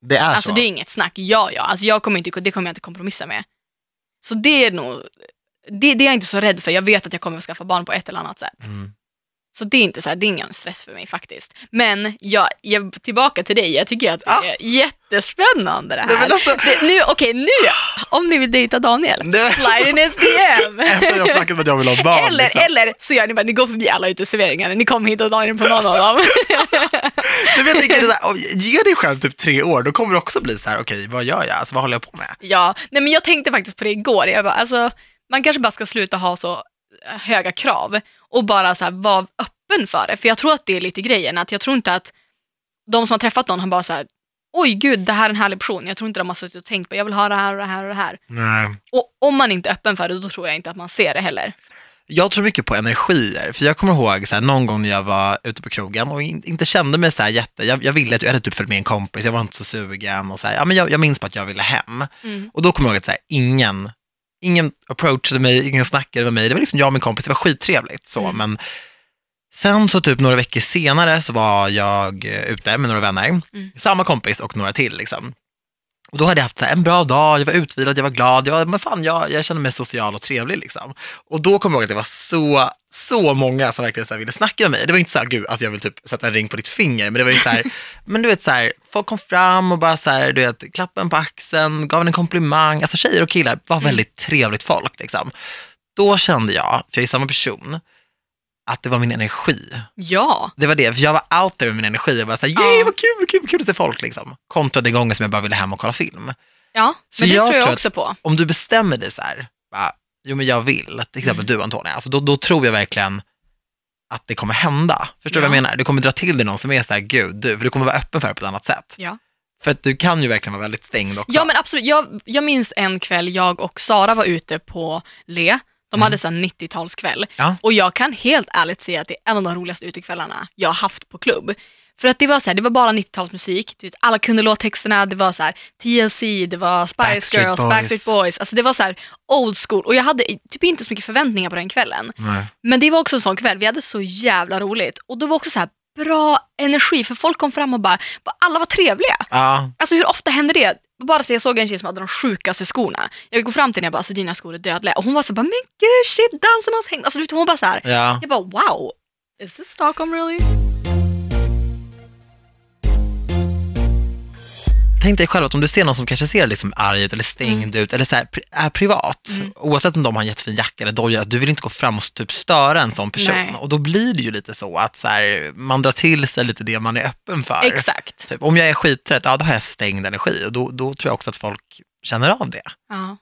Speaker 1: det är
Speaker 2: Alltså
Speaker 1: så.
Speaker 2: det är inget snack, ja ja, alltså, jag kommer inte, det kommer jag inte kompromissa med. Så det är nog, det, det är jag inte så rädd för, jag vet att jag kommer att skaffa barn på ett eller annat sätt.
Speaker 1: Mm.
Speaker 2: Så det är inte så här, det är ingen stress för mig faktiskt. Men jag, jag tillbaka till dig, jag tycker att det
Speaker 1: Ja.
Speaker 2: är jättespännande Ah! det
Speaker 1: Nej,
Speaker 2: här.
Speaker 1: men (laughs) alltså,
Speaker 2: Det, nu, okej nu, om ni vill dejta Daniel,
Speaker 1: Nej, men-
Speaker 2: slide in his DM.
Speaker 1: efter jag snackat om att jag vill ha barn.
Speaker 2: Eller,
Speaker 1: liksom.
Speaker 2: eller så gör ni bara, ni går förbi alla uteserveringar, ni kommer hitta Daniel på någon av dem.
Speaker 1: Nej, men jag tänker, det där, om- ge dig själv typ tre år, då kommer det också bli så här, okej vad gör jag? Alltså vad håller jag på med?
Speaker 2: (laughs) ja, nej men jag tänkte faktiskt på det igår, jag bara, alltså, man kanske bara ska sluta ha så eh, höga krav och bara så här, vara öppen för det. För jag tror att det är lite grejen, att jag tror inte att de som har träffat någon har bara så här, oj gud, det här är en härlig person. Jag tror inte de har suttit och tänkt på, jag vill ha det här och det här och det här.
Speaker 1: Nej.
Speaker 2: Och om man inte är öppen för det, då tror jag inte att man ser det heller.
Speaker 1: Jag tror mycket på energier, för jag kommer ihåg så här, någon gång när jag var ute på krogen och in, inte kände mig så här jätte, jag, jag ville, jag hade typ följt med en kompis, jag var inte så sugen och så här, ja, men jag, jag minns bara att jag ville hem.
Speaker 2: Mm.
Speaker 1: Och då kommer jag ihåg att så här, ingen, ingen approachade mig, ingen snackade med mig, det var liksom jag och min kompis, det var skittrevligt så,
Speaker 2: Mm.
Speaker 1: men sen så typ några veckor senare så var jag eh, ute med några vänner, samma kompis och några till liksom. Och då hade jag haft så här, en bra dag, jag var utvilad, jag var glad, jag, var- men fan, jag, jag kände mig social och trevlig liksom. Och då kom jag ihåg att det var så, så många som verkligen så här ville snacka med mig. Det var ju inte så här, gud, att jag vill typ sätta en ring på ditt finger, men det var ju så här, men du vet så här, folk kom fram och bara så här, du vet, klappade en på axeln, gav en en komplimang. Alltså tjejer och killar var väldigt trevligt folk liksom. Då kände jag, för jag är samma person, att det var min energi
Speaker 2: Ja.
Speaker 1: det var det, för jag var out there med min energi. Jag var såhär, yeah,
Speaker 2: Ja.
Speaker 1: vad kul, kul, kul att se folk liksom. Kontra den gången som jag bara ville hem och kolla film.
Speaker 2: Ja,
Speaker 1: Så
Speaker 2: men det
Speaker 1: jag
Speaker 2: tror
Speaker 1: tror
Speaker 2: jag
Speaker 1: att-
Speaker 2: också på.
Speaker 1: Om du bestämmer dig såhär, bara, jo men jag vill, till exempel
Speaker 2: Mm.
Speaker 1: du Antonija, alltså, då, då tror jag verkligen att det kommer hända. Förstår du vad jag menar? Du kommer dra till dig någon som är såhär, gud, du, för du kommer vara öppen för det på ett annat sätt.
Speaker 2: Ja.
Speaker 1: För att du kan ju verkligen vara väldigt stängd också.
Speaker 2: Ja men absolut, jag, jag minns en kväll jag och Sara var ute på Le, de
Speaker 1: Mm.
Speaker 2: hade så här 90-talskväll
Speaker 1: Ja.
Speaker 2: och jag kan helt ärligt säga att det är en av de roligaste utekvällarna jag har haft på klubb. För att det var så här, det var bara 90-talsmusik, du vet, alla kunde låttexterna, det var så här, TLC, det var Spice
Speaker 1: Backstreet
Speaker 2: Girls,
Speaker 1: Boys.
Speaker 2: Backstreet Boys, alltså det var så här old school och jag hade typ inte så mycket förväntningar på den kvällen.
Speaker 1: Nej.
Speaker 2: Men det var också en sån kväll, vi hade så jävla roligt och det var också så här bra energi för folk kom fram och bara, bara alla var trevliga.
Speaker 1: Ja,
Speaker 2: Alltså hur ofta händer det? Bara så jag såg en tjej som hade de sjukaste skorna. Jag gick fram till henne och bara, alltså dina skor är dödliga. Och hon var så bara, men gud shit, dansen har hängt. Alltså du vet, hon bara så här.
Speaker 1: ja.
Speaker 2: Jag bara, wow. Is this Stockholm really?
Speaker 1: Tänk dig själv att om du ser någon som kanske ser liksom arg ut eller stängd ut eller så här, pri- är privat,
Speaker 2: Mm.
Speaker 1: oavsett om de har en jättefin jacka eller doja, att du vill inte gå fram och typ störa en sån person.
Speaker 2: Nej.
Speaker 1: Och då blir det ju lite så att så här, man drar till sig lite det man är öppen för.
Speaker 2: Exakt.
Speaker 1: Typ, om jag är skittrött, ja då har jag stängd energi och då, då tror jag också att folk känner av det.
Speaker 2: Ja.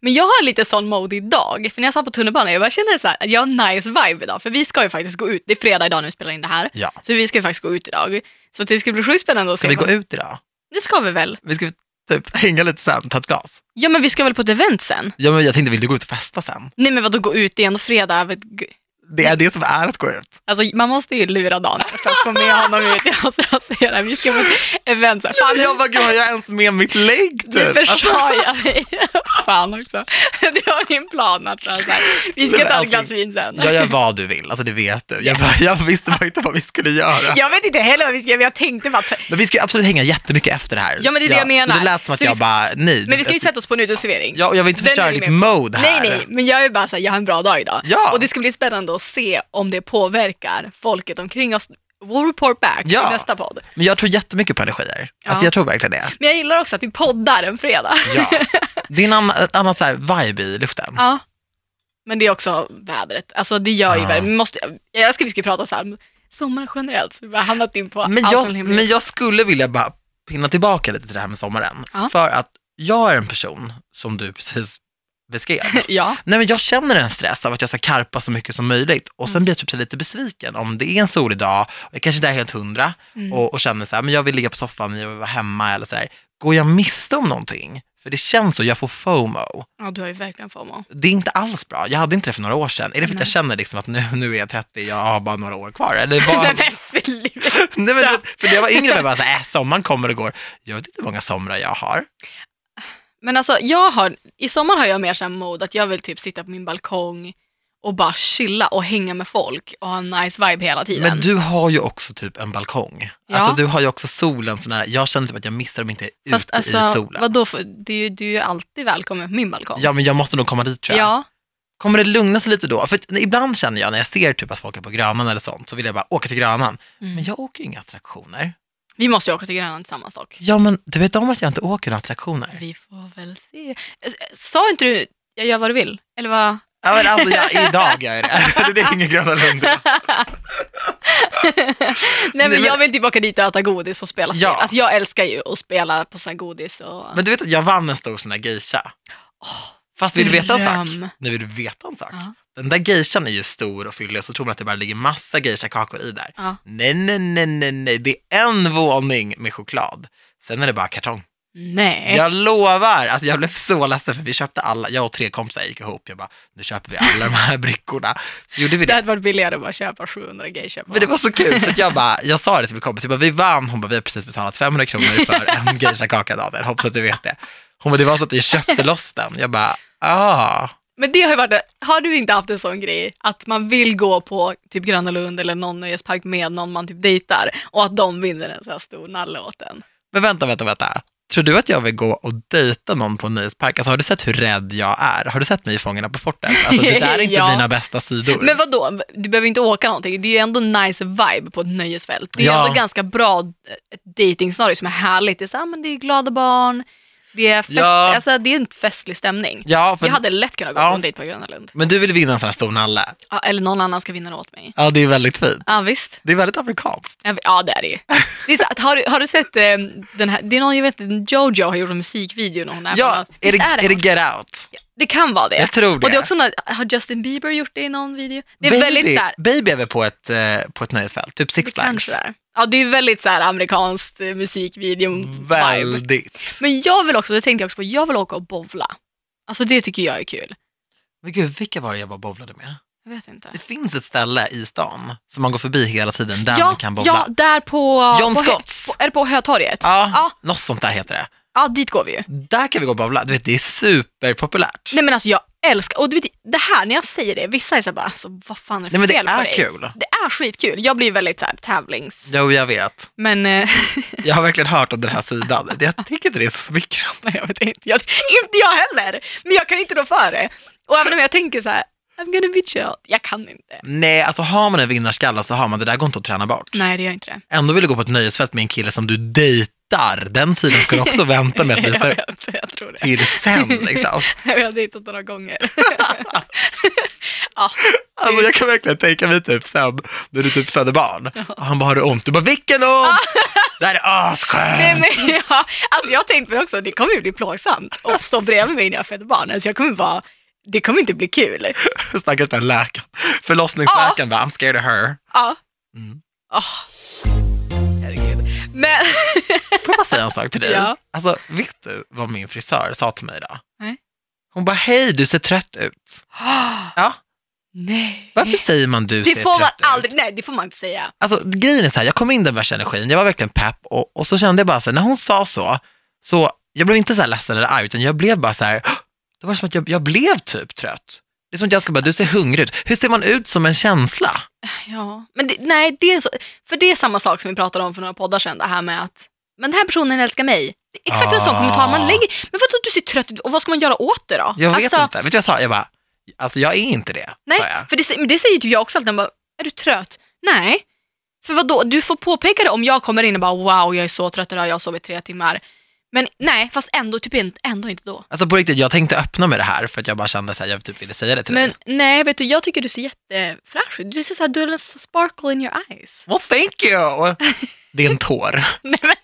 Speaker 2: Men jag har lite sån mode idag, för när jag satt på tunnelbanan, jag bara kände så här, att jag har en nice vibe idag, för vi ska ju faktiskt gå ut, det är fredag idag när vi spelar in det här,
Speaker 1: Ja.
Speaker 2: så vi ska ju faktiskt gå ut idag. Så det ska bli sjukt spännande att
Speaker 1: Ska
Speaker 2: se.
Speaker 1: vi
Speaker 2: vad-
Speaker 1: gå ut idag?
Speaker 2: Det ska vi väl?
Speaker 1: Vi ska typ (laughs) hänga lite sen, ta ett glas.
Speaker 2: Ja men vi ska väl på ett event sen?
Speaker 1: Ja, men jag tänkte, vill du gå ut och festa sen?
Speaker 2: Nej men vadå gå ut, det är ändå fredag, vet- gu-
Speaker 1: Det är det som är att gå ut.
Speaker 2: Alltså man måste ju lura Dan för att få med honom ut. (laughs) Alltså, jag säger det, här, vi ska på ett event. Så här, fan,
Speaker 1: Jag bara, gud har jag ens med mitt lägg
Speaker 2: du
Speaker 1: typ? Alltså,
Speaker 2: försajar mig. (laughs) Fan också. Det var min plan att vara så här, vi ska
Speaker 1: Nej, men alltså,
Speaker 2: ta ett
Speaker 1: älskling,
Speaker 2: glas vin
Speaker 1: (laughs)
Speaker 2: sen.
Speaker 1: Jag gör vad du vill, alltså det vet du. Jag, bara, jag visste bara inte vad vi skulle göra.
Speaker 2: Jag vet inte heller vad vi ska göra, men jag tänkte bara... ta-
Speaker 1: Men vi ska ju absolut hänga jättemycket efter det här.
Speaker 2: Ja, men det är det jag menar.
Speaker 1: Så det lät som att
Speaker 2: Så vi
Speaker 1: jag
Speaker 2: ska-
Speaker 1: bara, nej.
Speaker 2: Men vi ska ju sätta oss på en uteservering.
Speaker 1: ja, och jag vill inte
Speaker 2: Den är
Speaker 1: förstöra
Speaker 2: vi
Speaker 1: ditt
Speaker 2: med
Speaker 1: mode
Speaker 2: Nej,
Speaker 1: här.
Speaker 2: nej, men jag är bara så här, jag har en bra dag idag.
Speaker 1: Ja.
Speaker 2: Och det ska bli spännande att se om det påverkar folket omkring oss. We'll report back
Speaker 1: Ja.
Speaker 2: i nästa podd.
Speaker 1: Men jag tror jättemycket på energier. Alltså
Speaker 2: Ja.
Speaker 1: jag tror verkligen det.
Speaker 2: Men jag gillar också att vi poddar en fredag.
Speaker 1: Ja. Det är en annan, ett annat så här vibe i luften.
Speaker 2: Ja. Men det är också vädret. Alltså det gör ju
Speaker 1: Ja.
Speaker 2: vädret. Vi måste, jag älskar att vi ska prata så här om sommar generellt. Så vi har hamnat in på
Speaker 1: Men
Speaker 2: allt
Speaker 1: jag,
Speaker 2: mellan himmel och
Speaker 1: men jag skulle vilja bara pinna tillbaka lite till det här med sommaren.
Speaker 2: Ja.
Speaker 1: För att jag är en person som du precis
Speaker 2: (laughs)
Speaker 1: beskrev.
Speaker 2: jord. Ja,
Speaker 1: Nej men jag känner en stress av att jag ska karpa så mycket som möjligt och
Speaker 2: Mm.
Speaker 1: sen blir jag typ så lite besviken om det är en solig dag, och jag kanske inte är helt hundra
Speaker 2: Mm.
Speaker 1: och, och känner så här, men jag vill ligga på soffan, jag vill vara hemma eller så här. Går jag miste om någonting? För det känns så, jag får fomo.
Speaker 2: ja, du har ju verkligen (laughs) fomo.
Speaker 1: Det är inte alls bra, jag hade inte det för några år sedan. Är det för att jag känner liksom att nu, nu är jag 30, jag har bara några år kvar?
Speaker 2: (laughs)
Speaker 1: Eller bara,
Speaker 2: Nej
Speaker 1: nej,
Speaker 2: men sluta.
Speaker 1: men, du vet, för när jag var yngre var jag bara så här, äh, sommaren kommer och går. Jag vet inte hur många somrar jag har.
Speaker 2: Men alltså jag har, i sommar har jag mer sån mod att jag vill typ sitta på min balkong och bara chilla och hänga med folk och ha en nice vibe hela tiden.
Speaker 1: Men du har ju också typ en balkong.
Speaker 2: Ja.
Speaker 1: Alltså du har ju också solen så nära. Jag känner typ att jag missar om inte är
Speaker 2: Fast
Speaker 1: ute i
Speaker 2: alltså,
Speaker 1: solen.
Speaker 2: vadå, för, du, är ju- du är ju alltid välkommen på min balkong.
Speaker 1: Ja, men jag måste nog komma dit tror jag.
Speaker 2: ja.
Speaker 1: Kommer det lugna sig lite då? För att ibland känner jag när jag ser typ att folk är på Grönan eller sånt, så vill jag bara åka till Grönan.
Speaker 2: Mm.
Speaker 1: Men jag åker ju inga attraktioner.
Speaker 2: Vi måste ju åka till Grönland tillsammans dock.
Speaker 1: Ja, men du vet om att jag inte åker några attraktioner?
Speaker 2: Vi får väl se. S- Sa inte du, jag gör vad du vill? Eller vad?
Speaker 1: Ja, men alltså jag, idag gör jag (laughs) det. Det är ingen Gröna Lund.
Speaker 2: Nej men
Speaker 1: men-
Speaker 2: jag vill typ åka dit och äta godis och spela spel.
Speaker 1: Ja.
Speaker 2: Alltså jag älskar ju att spela på så här godis och...
Speaker 1: Men du vet att jag vann en stor sån där geisha. Fast vill du veta en
Speaker 2: Dröm.
Speaker 1: sak? Nu vill du veta en sak.
Speaker 2: Ja.
Speaker 1: Den där geishan är ju stor och fyllig och så tror man att det bara ligger massa geishakakor i där.
Speaker 2: Ja.
Speaker 1: Nej, nej, nej, nej, nej. Det är en våning med choklad. Sen är det bara kartong.
Speaker 2: Nej.
Speaker 1: Jag lovar, alltså jag blev så ledsen för vi köpte alla, jag och tre kompisar gick ihop, jag bara, nu köper vi alla de här brickorna. Så gjorde vi
Speaker 2: Det
Speaker 1: det.
Speaker 2: hade varit billigare att bara köpa 700 geishor.
Speaker 1: Men det var så kul, för att jag bara, jag sa det till min kompis, jag bara, vi vann, hon bara, vi har precis betalat 500 kronor för
Speaker 2: (laughs)
Speaker 1: en geishakaka Daniel, hoppas att du vet det. Hon bara, det var så att vi köpte loss den. Jag bara, ah.
Speaker 2: Men det har ju varit, har du inte haft en sån grej att man vill gå på typ Gröna Lund eller någon nöjespark med någon man typ dejtar och att de vinner en sån här stor nalle åt en?
Speaker 1: Men vänta, vänta, vänta. Tror du att jag vill gå och dejta någon på en nöjespark? Alltså har du sett hur rädd jag är? Har du sett mig i Fångarna på fortet? Alltså det där är inte
Speaker 2: (laughs) Ja.
Speaker 1: mina bästa sidor.
Speaker 2: Men vad då? du behöver inte åka någonting, det är ju ändå nice vibe på ett nöjesfält. Det är ju
Speaker 1: Ja.
Speaker 2: ändå ganska bra eh, ett dejtingscenario som är härligt. Det är, så här, "Ah, men det är glada barn, det är, fest,
Speaker 1: Ja.
Speaker 2: alltså, det är en festlig stämning.
Speaker 1: ja, för,
Speaker 2: Jag hade lätt kunnat gå
Speaker 1: Ja.
Speaker 2: på en dejt på Gröna Lund.
Speaker 1: men du vill vinna en sån här stor nalle?
Speaker 2: Ja, eller någon annan ska vinna det åt mig.
Speaker 1: Ja, det är väldigt fint.
Speaker 2: Ja visst.
Speaker 1: Det är väldigt amerikanskt.
Speaker 2: Jag vet- Ja det är det ju. Det är så, att- har, du, har du sett eh, den här, det är någon jag vet, Jojo har gjort en musikvideo när hon är
Speaker 1: Ja,
Speaker 2: på-
Speaker 1: är
Speaker 2: Visst
Speaker 1: det, är det
Speaker 2: hon?
Speaker 1: Get Out?
Speaker 2: det kan vara det.
Speaker 1: Jag tror det.
Speaker 2: Och det är också när, har Justin Bieber gjort det i någon video? Det är
Speaker 1: baby,
Speaker 2: väldigt såhär,
Speaker 1: baby är väl på ett, eh, på ett nöjesfält, typ Six
Speaker 2: det
Speaker 1: Flags.
Speaker 2: kanske det är. Ja det är väldigt såhär amerikanskt eh, musikvideo-vibe.
Speaker 1: Väldigt.
Speaker 2: Men jag vill också, det tänkte jag också på, jag vill åka och bowla. Alltså det tycker jag är kul.
Speaker 1: Men gud, vilka var det jag var och bowlade med?
Speaker 2: Jag vet inte.
Speaker 1: Det finns ett ställe i stan som man går förbi hela tiden, där man
Speaker 2: Ja,
Speaker 1: kan bowla.
Speaker 2: ja, där på...
Speaker 1: John
Speaker 2: på, Hö-
Speaker 1: Scotts.
Speaker 2: På, är det på Hötorget?
Speaker 1: Ja,
Speaker 2: Ja.
Speaker 1: något sånt där heter det.
Speaker 2: ja, dit går vi ju.
Speaker 1: Där kan vi gå och bowla, du vet det är superpopulärt.
Speaker 2: Nej men alltså jag älskar, och du vet, det här när jag säger det, vissa är såhär bara, alltså, vad fan är
Speaker 1: Nej
Speaker 2: det
Speaker 1: men det
Speaker 2: fel på
Speaker 1: är
Speaker 2: dig?
Speaker 1: kul.
Speaker 2: Det är skitkul, jag blir väldigt såhär tävlings...
Speaker 1: Jo, jag vet.
Speaker 2: Men eh, (laughs)
Speaker 1: Jag har verkligen hört om den här sidan. Jag tycker inte det är så smickrande.
Speaker 2: jag vet inte, jag, inte jag heller! Men jag kan inte rå för det. Och även om jag tänker så här: I'm gonna bitch out, jag kan inte.
Speaker 1: Nej, alltså har man en vinnarskalle så har man det där går inte att träna bort.
Speaker 2: Nej det gör inte det.
Speaker 1: Ändå vill du gå på ett nöjesfält med en kille som du dejtar. Den sidan ska du
Speaker 2: (laughs)
Speaker 1: också vänta med att
Speaker 2: jag,
Speaker 1: visa upp
Speaker 2: vet, jag tror (laughs) det.
Speaker 1: till sen. Liksom.
Speaker 2: (laughs) Jag har dejtat
Speaker 1: (laughs)
Speaker 2: några gånger. ja,
Speaker 1: Alltså jag kan verkligen tänka mig typ sen när du typ föder barn. Och han bara, har du ont? Du bara, vilken ont? (laughs) Det här är
Speaker 2: Ah. nej,
Speaker 1: asskönt.
Speaker 2: men, (laughs) ja, alltså jag har tänkt på det också, det kommer ju bli plågsamt att stå bredvid mig när jag föder barn. Alltså jag kommer vara, det kommer inte bli kul.
Speaker 1: (laughs) Stackars den läkaren. Förlossningsläkaren
Speaker 2: Ah.
Speaker 1: bara, I'm scared of her.
Speaker 2: Ja.
Speaker 1: Mm.
Speaker 2: Åh. Herregud. Men, (laughs)
Speaker 1: Får jag bara säga en sak till dig?
Speaker 2: Ja.
Speaker 1: Alltså, vet du vad min frisör sa till mig idag?
Speaker 2: Nej.
Speaker 1: Hon bara, hej du ser trött ut. Ja.
Speaker 2: (gasps) nej.
Speaker 1: Varför säger man du
Speaker 2: Det
Speaker 1: ser
Speaker 2: får man
Speaker 1: trött ut?
Speaker 2: aldrig, nej det får man inte säga.
Speaker 1: Alltså grejen är så här, jag kom in den värsta energin, jag var verkligen pepp och, och så kände jag bara så här, när hon sa så, så jag blev inte så här ledsen eller arg, utan jag blev bara så här, "Åh!" det var som att jag, jag blev typ trött. Det är som att jag ska bara, du ser hungrig ut. Hur ser man ut som en känsla?
Speaker 2: Ja. Men det, nej, det är så, för det är samma sak som vi pratade om för några poddar sedan, det här med att men den här personen älskar mig. Det är exakt en sån
Speaker 1: Ah.
Speaker 2: kommentar man lägger. Men vadå du ser trött ut och vad ska man göra åt det då?
Speaker 1: Jag vet
Speaker 2: alltså,
Speaker 1: inte. Vet du vad jag sa? Jag bara, alltså jag är inte det,
Speaker 2: Nej,
Speaker 1: sa jag.
Speaker 2: för det, men det säger ju typ jag också alltid. Jag Bara, är du trött? Nej. För vadå, du får påpeka det om jag kommer in och bara wow jag är så trött idag, jag har sovit tre timmar. Men nej, fast ändå, typ inte, ändå inte då.
Speaker 1: Alltså på riktigt, jag tänkte öppna med det här för att jag bara kände så här, jag typ ville säga det till
Speaker 2: Men
Speaker 1: dig.
Speaker 2: nej, vet du, jag tycker du ser jättefräsch ut. Du ser så här, du har en sparkle in your eyes.
Speaker 1: Well thank you!
Speaker 2: (laughs)
Speaker 1: Och Det är en tår.
Speaker 2: Nej men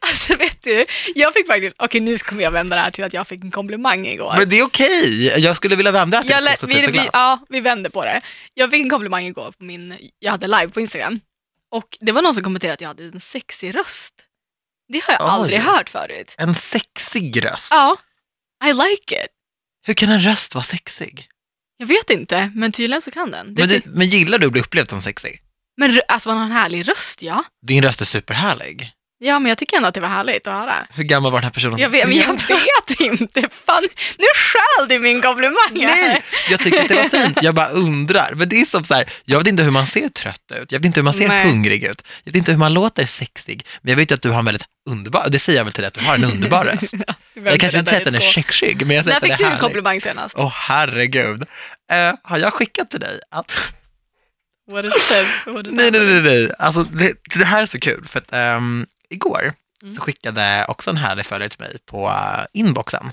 Speaker 2: Alltså vet du, jag fick faktiskt, okej nu kommer jag vända det här till att jag fick en komplimang igår.
Speaker 1: Men det är okej. Jag skulle vilja vända det till
Speaker 2: jag
Speaker 1: något
Speaker 2: lä- vi,
Speaker 1: positivt och
Speaker 2: vi,
Speaker 1: glatt.
Speaker 2: ja, vi vänder på det. Jag fick en komplimang igår på min, jag hade live på Instagram. Och det var någon som kommenterade att jag hade en sexig röst. Det har jag
Speaker 1: Oj.
Speaker 2: aldrig hört förut.
Speaker 1: En sexig röst.
Speaker 2: Ja, I like it.
Speaker 1: Hur kan en röst vara sexig?
Speaker 2: Jag vet inte, men tydligen så kan den. Det
Speaker 1: Men,
Speaker 2: men,
Speaker 1: du, men gillar du att bli upplevd som sexig?
Speaker 2: men rö- alltså man har en härlig röst ja.
Speaker 1: Din röst är superhärlig.
Speaker 2: Ja men jag tycker ändå att det var härligt att höra.
Speaker 1: Hur gammal var den här personen? som
Speaker 2: Jag vet, men
Speaker 1: skrev?
Speaker 2: jag vet inte. Fan, nu stjäl du min komplimang
Speaker 1: Nej,
Speaker 2: här.
Speaker 1: jag tycker att det var fint. Jag bara undrar. Men det är som så här, jag vet inte hur man ser trött ut. Jag vet inte hur man ser
Speaker 2: Nej.
Speaker 1: hungrig ut. Jag vet inte hur man låter sexig. Men jag vet ju att du har en väldigt underbar, och det säger jag väl till dig, att du
Speaker 2: (laughs)
Speaker 1: har en underbar röst. Jag kanske inte säger att den är sexig, men jag säger
Speaker 2: När
Speaker 1: att den
Speaker 2: fick
Speaker 1: är
Speaker 2: du en
Speaker 1: härlig.
Speaker 2: komplimang senast?
Speaker 1: Åh herregud. Eh, har jag skickat till dig att
Speaker 2: What is this? What is
Speaker 1: Nej,
Speaker 2: that?
Speaker 1: nej, nej, nej. Alltså, det, det här är så kul, för att ehm, igår
Speaker 2: Mm.
Speaker 1: så skickade också en härlig följare till mig på eh, inboxen.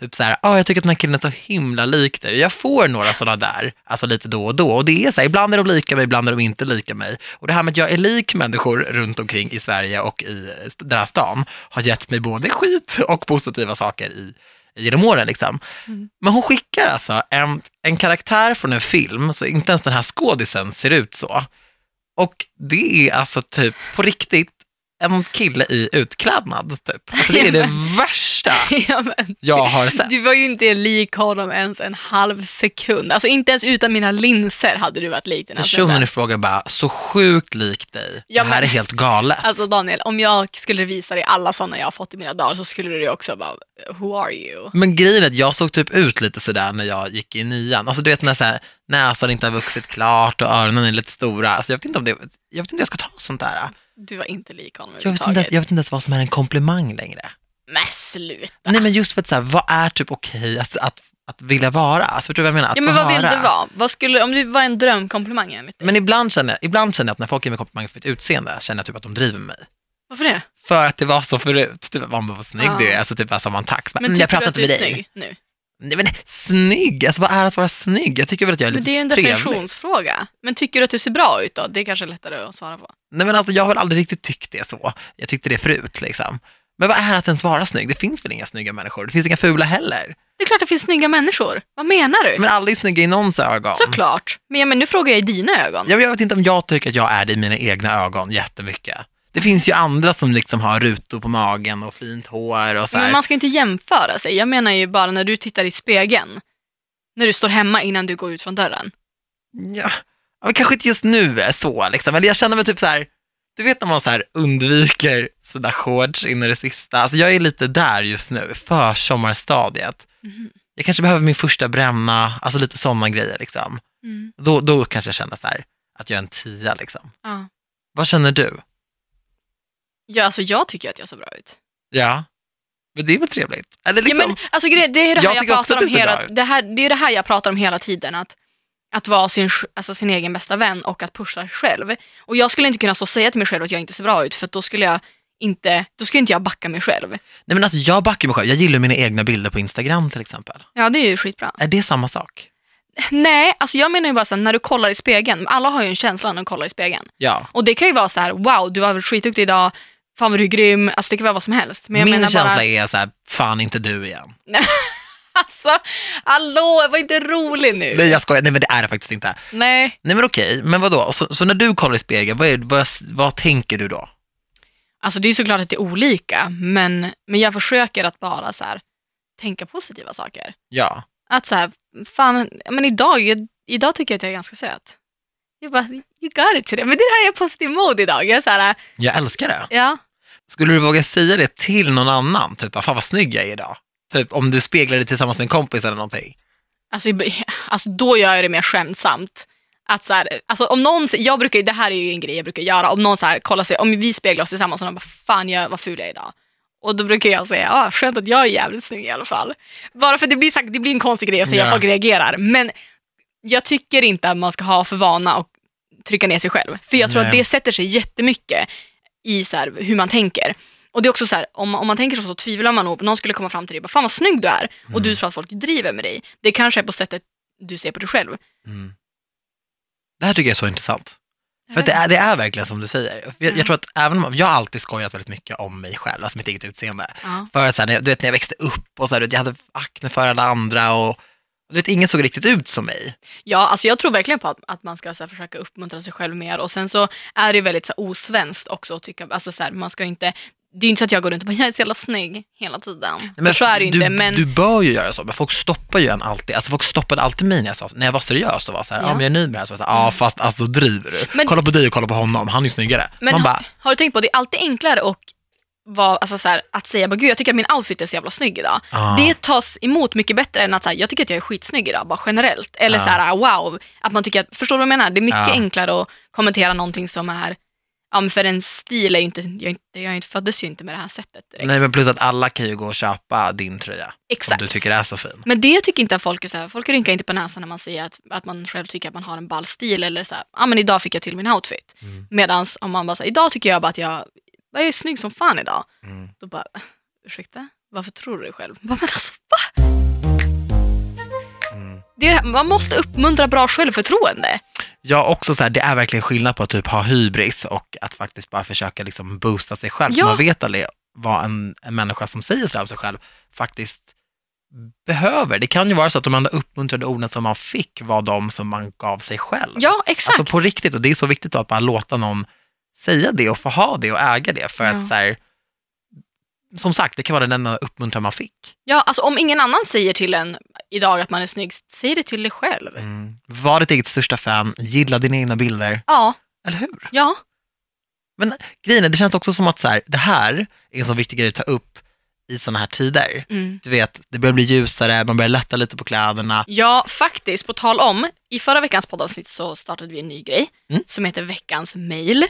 Speaker 1: Typ så här, ah, jag tycker att den här killen är så himla lik dig. Jag får några sådana där, alltså lite då och då. Och det är så här, ibland är de lika mig, ibland är de inte lika mig. Och det här med att jag är lik människor runt omkring i Sverige och i eh, st- den här stan har gett mig både skit och positiva saker i, genom åren. Liksom.
Speaker 2: Mm.
Speaker 1: Men hon skickar alltså en, en karaktär från en film, så inte ens den här skådisen ser ut så. Och det är alltså typ på riktigt en kille i utklädnad typ. Alltså det är det värsta
Speaker 2: (laughs) ja, men,
Speaker 1: jag har sett.
Speaker 2: du var ju inte lik honom ens en halv sekund. Alltså inte ens utan mina linser hade du varit lik den här
Speaker 1: Personen
Speaker 2: snubben.
Speaker 1: i fråga bara, så sjukt lik dig.
Speaker 2: Ja,
Speaker 1: det här
Speaker 2: men-
Speaker 1: är helt galet.
Speaker 2: Alltså Daniel, om jag skulle visa dig alla sådana jag har fått i mina dagar så skulle du ju också bara, who are you?
Speaker 1: Men grejen är att jag såg typ ut lite sådär när jag gick i nian. Alltså du vet när så här, näsan inte har vuxit klart och öronen är lite stora. Alltså jag vet inte om det, jag vet inte hur jag ska ta sånt där.
Speaker 2: Du var inte lik honom
Speaker 1: Jag vet, inte,
Speaker 2: överhuvudtaget.
Speaker 1: ens- jag vet inte ens vad som är en komplimang längre.
Speaker 2: Men sluta.
Speaker 1: Nej men just för att så här, vad är typ okej att, att, att vilja vara? Alltså förstår du vad jag menar? Att
Speaker 2: Ja, men
Speaker 1: få
Speaker 2: vad vill
Speaker 1: höra.
Speaker 2: du vara? Vad skulle, om du var en drömkomplimang enligt dig?
Speaker 1: Men ibland känner, jag, ibland känner jag att när folk ger mig komplimanger för mitt utseende, känner jag typ att de driver mig.
Speaker 2: Varför det?
Speaker 1: För att det var så förut. Typ, man bara, vad snygg
Speaker 2: Ja.
Speaker 1: du är. Alltså typ, alltså man tack. Så bara,
Speaker 2: Men
Speaker 1: "Mm,
Speaker 2: tycker
Speaker 1: jag
Speaker 2: du
Speaker 1: pratar
Speaker 2: att
Speaker 1: inte
Speaker 2: du
Speaker 1: med dig.
Speaker 2: är snygg nu?
Speaker 1: Nej men snygg, alltså vad är att vara snygg? Jag tycker väl att jag är
Speaker 2: Men
Speaker 1: lite
Speaker 2: det är ju en
Speaker 1: trevlig.
Speaker 2: definitionsfråga. Men tycker du att du ser bra ut då? Det är kanske lättare att svara på.
Speaker 1: Nej men alltså jag har väl aldrig riktigt tyckt det så. Jag tyckte det förut liksom. Men vad är att ens vara snygg? Det finns väl inga snygga människor? Det finns inga fula heller.
Speaker 2: Det är klart det finns snygga människor. Vad menar du?
Speaker 1: Men alla är snygga i någons ögon.
Speaker 2: Såklart. Men, ja, men nu frågar jag i dina ögon.
Speaker 1: Ja, men Jag vet inte om jag tycker att jag är det i mina egna ögon jättemycket. Det finns ju andra som liksom har rutor på magen och fint hår och så här.
Speaker 2: men man ska ju inte jämföra sig. Jag menar ju bara när du tittar i spegeln. När du står hemma innan du går ut från dörren.
Speaker 1: Ja, ja, men kanske inte just nu är så liksom. Eller jag känner mig typ så här, du vet när man så här undviker sina shorts in i det sista. Alltså jag är lite där just nu, försommarstadiet.
Speaker 2: Mhm.
Speaker 1: Jag kanske behöver min första bränna, alltså lite sådana grejer liksom.
Speaker 2: Mm.
Speaker 1: Då, då kanske jag känner så här, att jag är en tia liksom.
Speaker 2: Ja.
Speaker 1: Vad känner du?
Speaker 2: ja, alltså jag tycker att jag ser bra ut.
Speaker 1: Ja, men det är väl trevligt? Eller liksom,
Speaker 2: Ja, men, alltså, grej- det, är det,
Speaker 1: Jag
Speaker 2: här jag
Speaker 1: tycker också
Speaker 2: pratar
Speaker 1: att
Speaker 2: om
Speaker 1: det ser
Speaker 2: hela,
Speaker 1: bra ut.
Speaker 2: det, här, det är det här jag pratar om hela tiden. Att, att vara sin, sj- alltså, sin egen bästa vän och att pusha sig själv. Och jag skulle inte kunna så säga till mig själv att jag inte ser bra ut för att då skulle jag inte, då skulle inte jag backa mig själv.
Speaker 1: nej, men alltså, jag backar mig själv. Jag gillar mina egna bilder på Instagram till exempel.
Speaker 2: Ja, det är ju skitbra.
Speaker 1: Är det samma sak?
Speaker 2: Nej, alltså jag menar ju bara så här, när du kollar i spegeln. Alla har ju en känsla när de kollar i spegeln.
Speaker 1: Ja.
Speaker 2: Och det kan ju vara så här, wow, du var skitduktig idag, fan vad du är grym, alltså det kan vara vad som helst. Men jag
Speaker 1: Min
Speaker 2: menar
Speaker 1: känsla
Speaker 2: bara,
Speaker 1: är så här, fan inte du igen.
Speaker 2: (laughs) alltså, hallå, var inte rolig nu.
Speaker 1: Nej jag skojar, nej men det är det faktiskt inte.
Speaker 2: Nej.
Speaker 1: Nej men okej, men vadå? Så, så när du kollar i spegeln, vad, är, vad, vad tänker du då?
Speaker 2: Alltså det är ju såklart att det är olika, men, men jag försöker att bara så här, tänka positiva saker.
Speaker 1: Ja.
Speaker 2: Att så här, fan, men idag, idag tycker jag att jag är ganska söt. Jag bara, you got it today. Men det här är positiv mode idag. Jag är så här,
Speaker 1: Jag älskar det.
Speaker 2: ja.
Speaker 1: Skulle du våga säga det till någon annan? Typ, "Ah, fan vad snygg jag är idag. Typ om du speglar dig tillsammans med en kompis eller någonting.
Speaker 2: Alltså, ib- (laughs) alltså då gör jag det mer skämtsamt. Att så här, alltså om någon, jag brukar, ju- det här är ju en grej jag brukar göra, om någon så här, kollar sig, om vi speglar oss tillsammans och de bara fan jag, vad ful jag är idag. Och då brukar jag säga, ah, skönt att jag är jävligt snygg i alla fall. Bara för att det blir, sagt, det blir en konstig grej att säga,
Speaker 1: Ja.
Speaker 2: folk reagerar. Men jag tycker inte att man ska ha för vana att trycka ner sig själv. För jag tror att
Speaker 1: Nej.
Speaker 2: det sätter sig jättemycket i så här, hur man tänker. Och det är också så här, om, om man tänker så, så tvivlar man nog. Någon skulle komma fram till dig och bara, fan vad snygg du är.
Speaker 1: Mm.
Speaker 2: Och du tror att folk driver med dig. Det kanske är på sättet du ser på dig själv.
Speaker 1: Mm. Det här tycker jag är så intressant.
Speaker 2: Jag
Speaker 1: För att
Speaker 2: vet
Speaker 1: det är, det är verkligen som du säger. Jag,
Speaker 2: Ja.
Speaker 1: jag tror att även om, jag har alltid skojat väldigt mycket om mig själv, alltså mitt eget utseende.
Speaker 2: Ja.
Speaker 1: För så här, när jag, du vet när jag växte upp och så här, du vet, jag hade akne för alla andra och du vet, ingen såg riktigt ut som mig.
Speaker 2: ja, alltså jag tror verkligen på att, att man ska så här, försöka uppmuntra sig själv mer. Och sen så är det ju väldigt så här, osvenskt också att tycka, alltså så här, man ska ju inte, det är ju inte så att jag går runt och bara, jag är så jävla snygg hela tiden.
Speaker 1: Nej,
Speaker 2: för så är det ju
Speaker 1: du,
Speaker 2: inte. Men,
Speaker 1: du bör ju göra så, men folk stoppar ju en alltid. Alltså folk stoppade alltid mig när jag, sa, när jag var seriös och var så här, ja
Speaker 2: Ja. Mm.
Speaker 1: men jag är ny med det här. Så var jag så här, ja fast alltså driver du?
Speaker 2: Men-
Speaker 1: kolla på dig och kolla på honom, han är ju snyggare.
Speaker 2: men
Speaker 1: Man
Speaker 2: har-
Speaker 1: bara,
Speaker 2: har du tänkt på, det är alltid enklare och vara, alltså så här, att säga bara, gud jag tycker att min outfit är så jävla snygg idag.
Speaker 1: ah,
Speaker 2: Det tas emot mycket bättre än att så här, jag tycker att jag är skitsnygg idag, bara generellt. Eller
Speaker 1: Ja.
Speaker 2: så här, wow, att man tycker att, förstår du vad jag menar? Det är mycket
Speaker 1: Ja.
Speaker 2: enklare att kommentera någonting som är, ja men för en stil är ju inte, jag, är inte- jag är inte- föddes ju inte med det här sättet direkt.
Speaker 1: Nej men plus att alla kan ju gå och köpa din tröja,
Speaker 2: Exakt.
Speaker 1: som du tycker är så fin.
Speaker 2: Men det tycker inte att folk är så här, folk rynkar inte på näsan när man säger att, att man själv tycker att man har en ball stil eller så här, ja men idag fick jag till min outfit.
Speaker 1: Mm.
Speaker 2: Medan om man bara säger idag tycker jag bara att jag, jag är snygg som fan idag.
Speaker 1: Mm.
Speaker 2: Då bara, ursäkta, varför tror du det själv? (laughs) Bara, men alltså,
Speaker 1: Mm.
Speaker 2: det är, det här- man måste uppmuntra bra självförtroende.
Speaker 1: Ja också så här, det är verkligen skillnad på att typ ha hybris och att faktiskt bara försöka liksom boosta sig själv.
Speaker 2: Ja.
Speaker 1: Man vet aldrig vad en, en människa som säger sådär om sig själv faktiskt behöver. Det kan ju vara så att de enda uppmuntrande orden som man fick var de som man gav sig själv.
Speaker 2: Ja, exakt.
Speaker 1: Alltså på riktigt, och det är så viktigt att bara låta någon säga det och få ha det och äga det. För
Speaker 2: Ja.
Speaker 1: att så här, som sagt, det kan vara den enda uppmuntran man fick.
Speaker 2: ja, alltså om ingen annan säger till en idag att man är snygg, säg det till dig själv.
Speaker 1: Var ditt eget största fan, gilla dina egna bilder,
Speaker 2: Ja,
Speaker 1: eller hur?
Speaker 2: ja,
Speaker 1: Men grejen är, det känns också som att så här, det här är en så viktig grej att ta upp i sådana här tider.
Speaker 2: mm.
Speaker 1: Du vet, det börjar bli ljusare, man börjar lätta lite på kläderna.
Speaker 2: Ja, faktiskt. På tal om, i förra veckans poddavsnitt så startade vi en ny grej
Speaker 1: Mm.
Speaker 2: som heter veckans mail.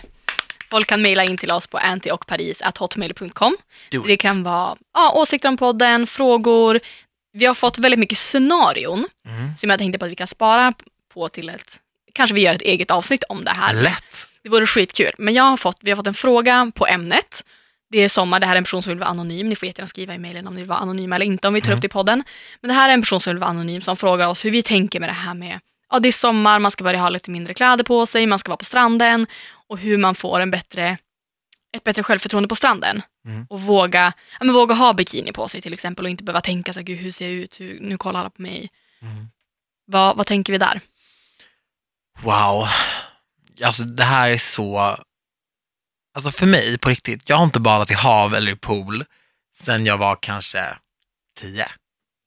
Speaker 2: Folk kan mejla in till oss på antiochparis.hotmail.com.
Speaker 1: Do
Speaker 2: Det
Speaker 1: it.
Speaker 2: kan vara ja, åsikter om podden, frågor. Vi har fått väldigt mycket scenarion
Speaker 1: Mm.
Speaker 2: som jag tänkte på att vi kan spara på till ett Kanske vi gör ett eget avsnitt om det här.
Speaker 1: Lätt.
Speaker 2: Det vore skitkul. Men jag har fått, vi har fått en fråga på ämnet. Det är sommar, det här är en person som vill vara anonym. Ni får jättegärna skriva i mejlen om ni vill vara anonyma eller inte om vi tar
Speaker 1: Mm.
Speaker 2: upp det i podden. Men det här är en person som vill vara anonym som frågar oss hur vi tänker med det här med ja, det är sommar, man ska börja ha lite mindre kläder på sig, man ska vara på stranden och hur man får en bättre, ett bättre självförtroende på stranden.
Speaker 1: Mm.
Speaker 2: Och våga, ja, men våga ha bikini på sig till exempel och inte behöva tänka så här, gud hur ser jag ut, hur, nu kollar alla på mig.
Speaker 1: Mm.
Speaker 2: Vad, vad tänker vi där?
Speaker 1: Wow. Alltså det här är så... Alltså för mig, på riktigt, jag har inte badat i hav eller i pool sen jag var kanske tio.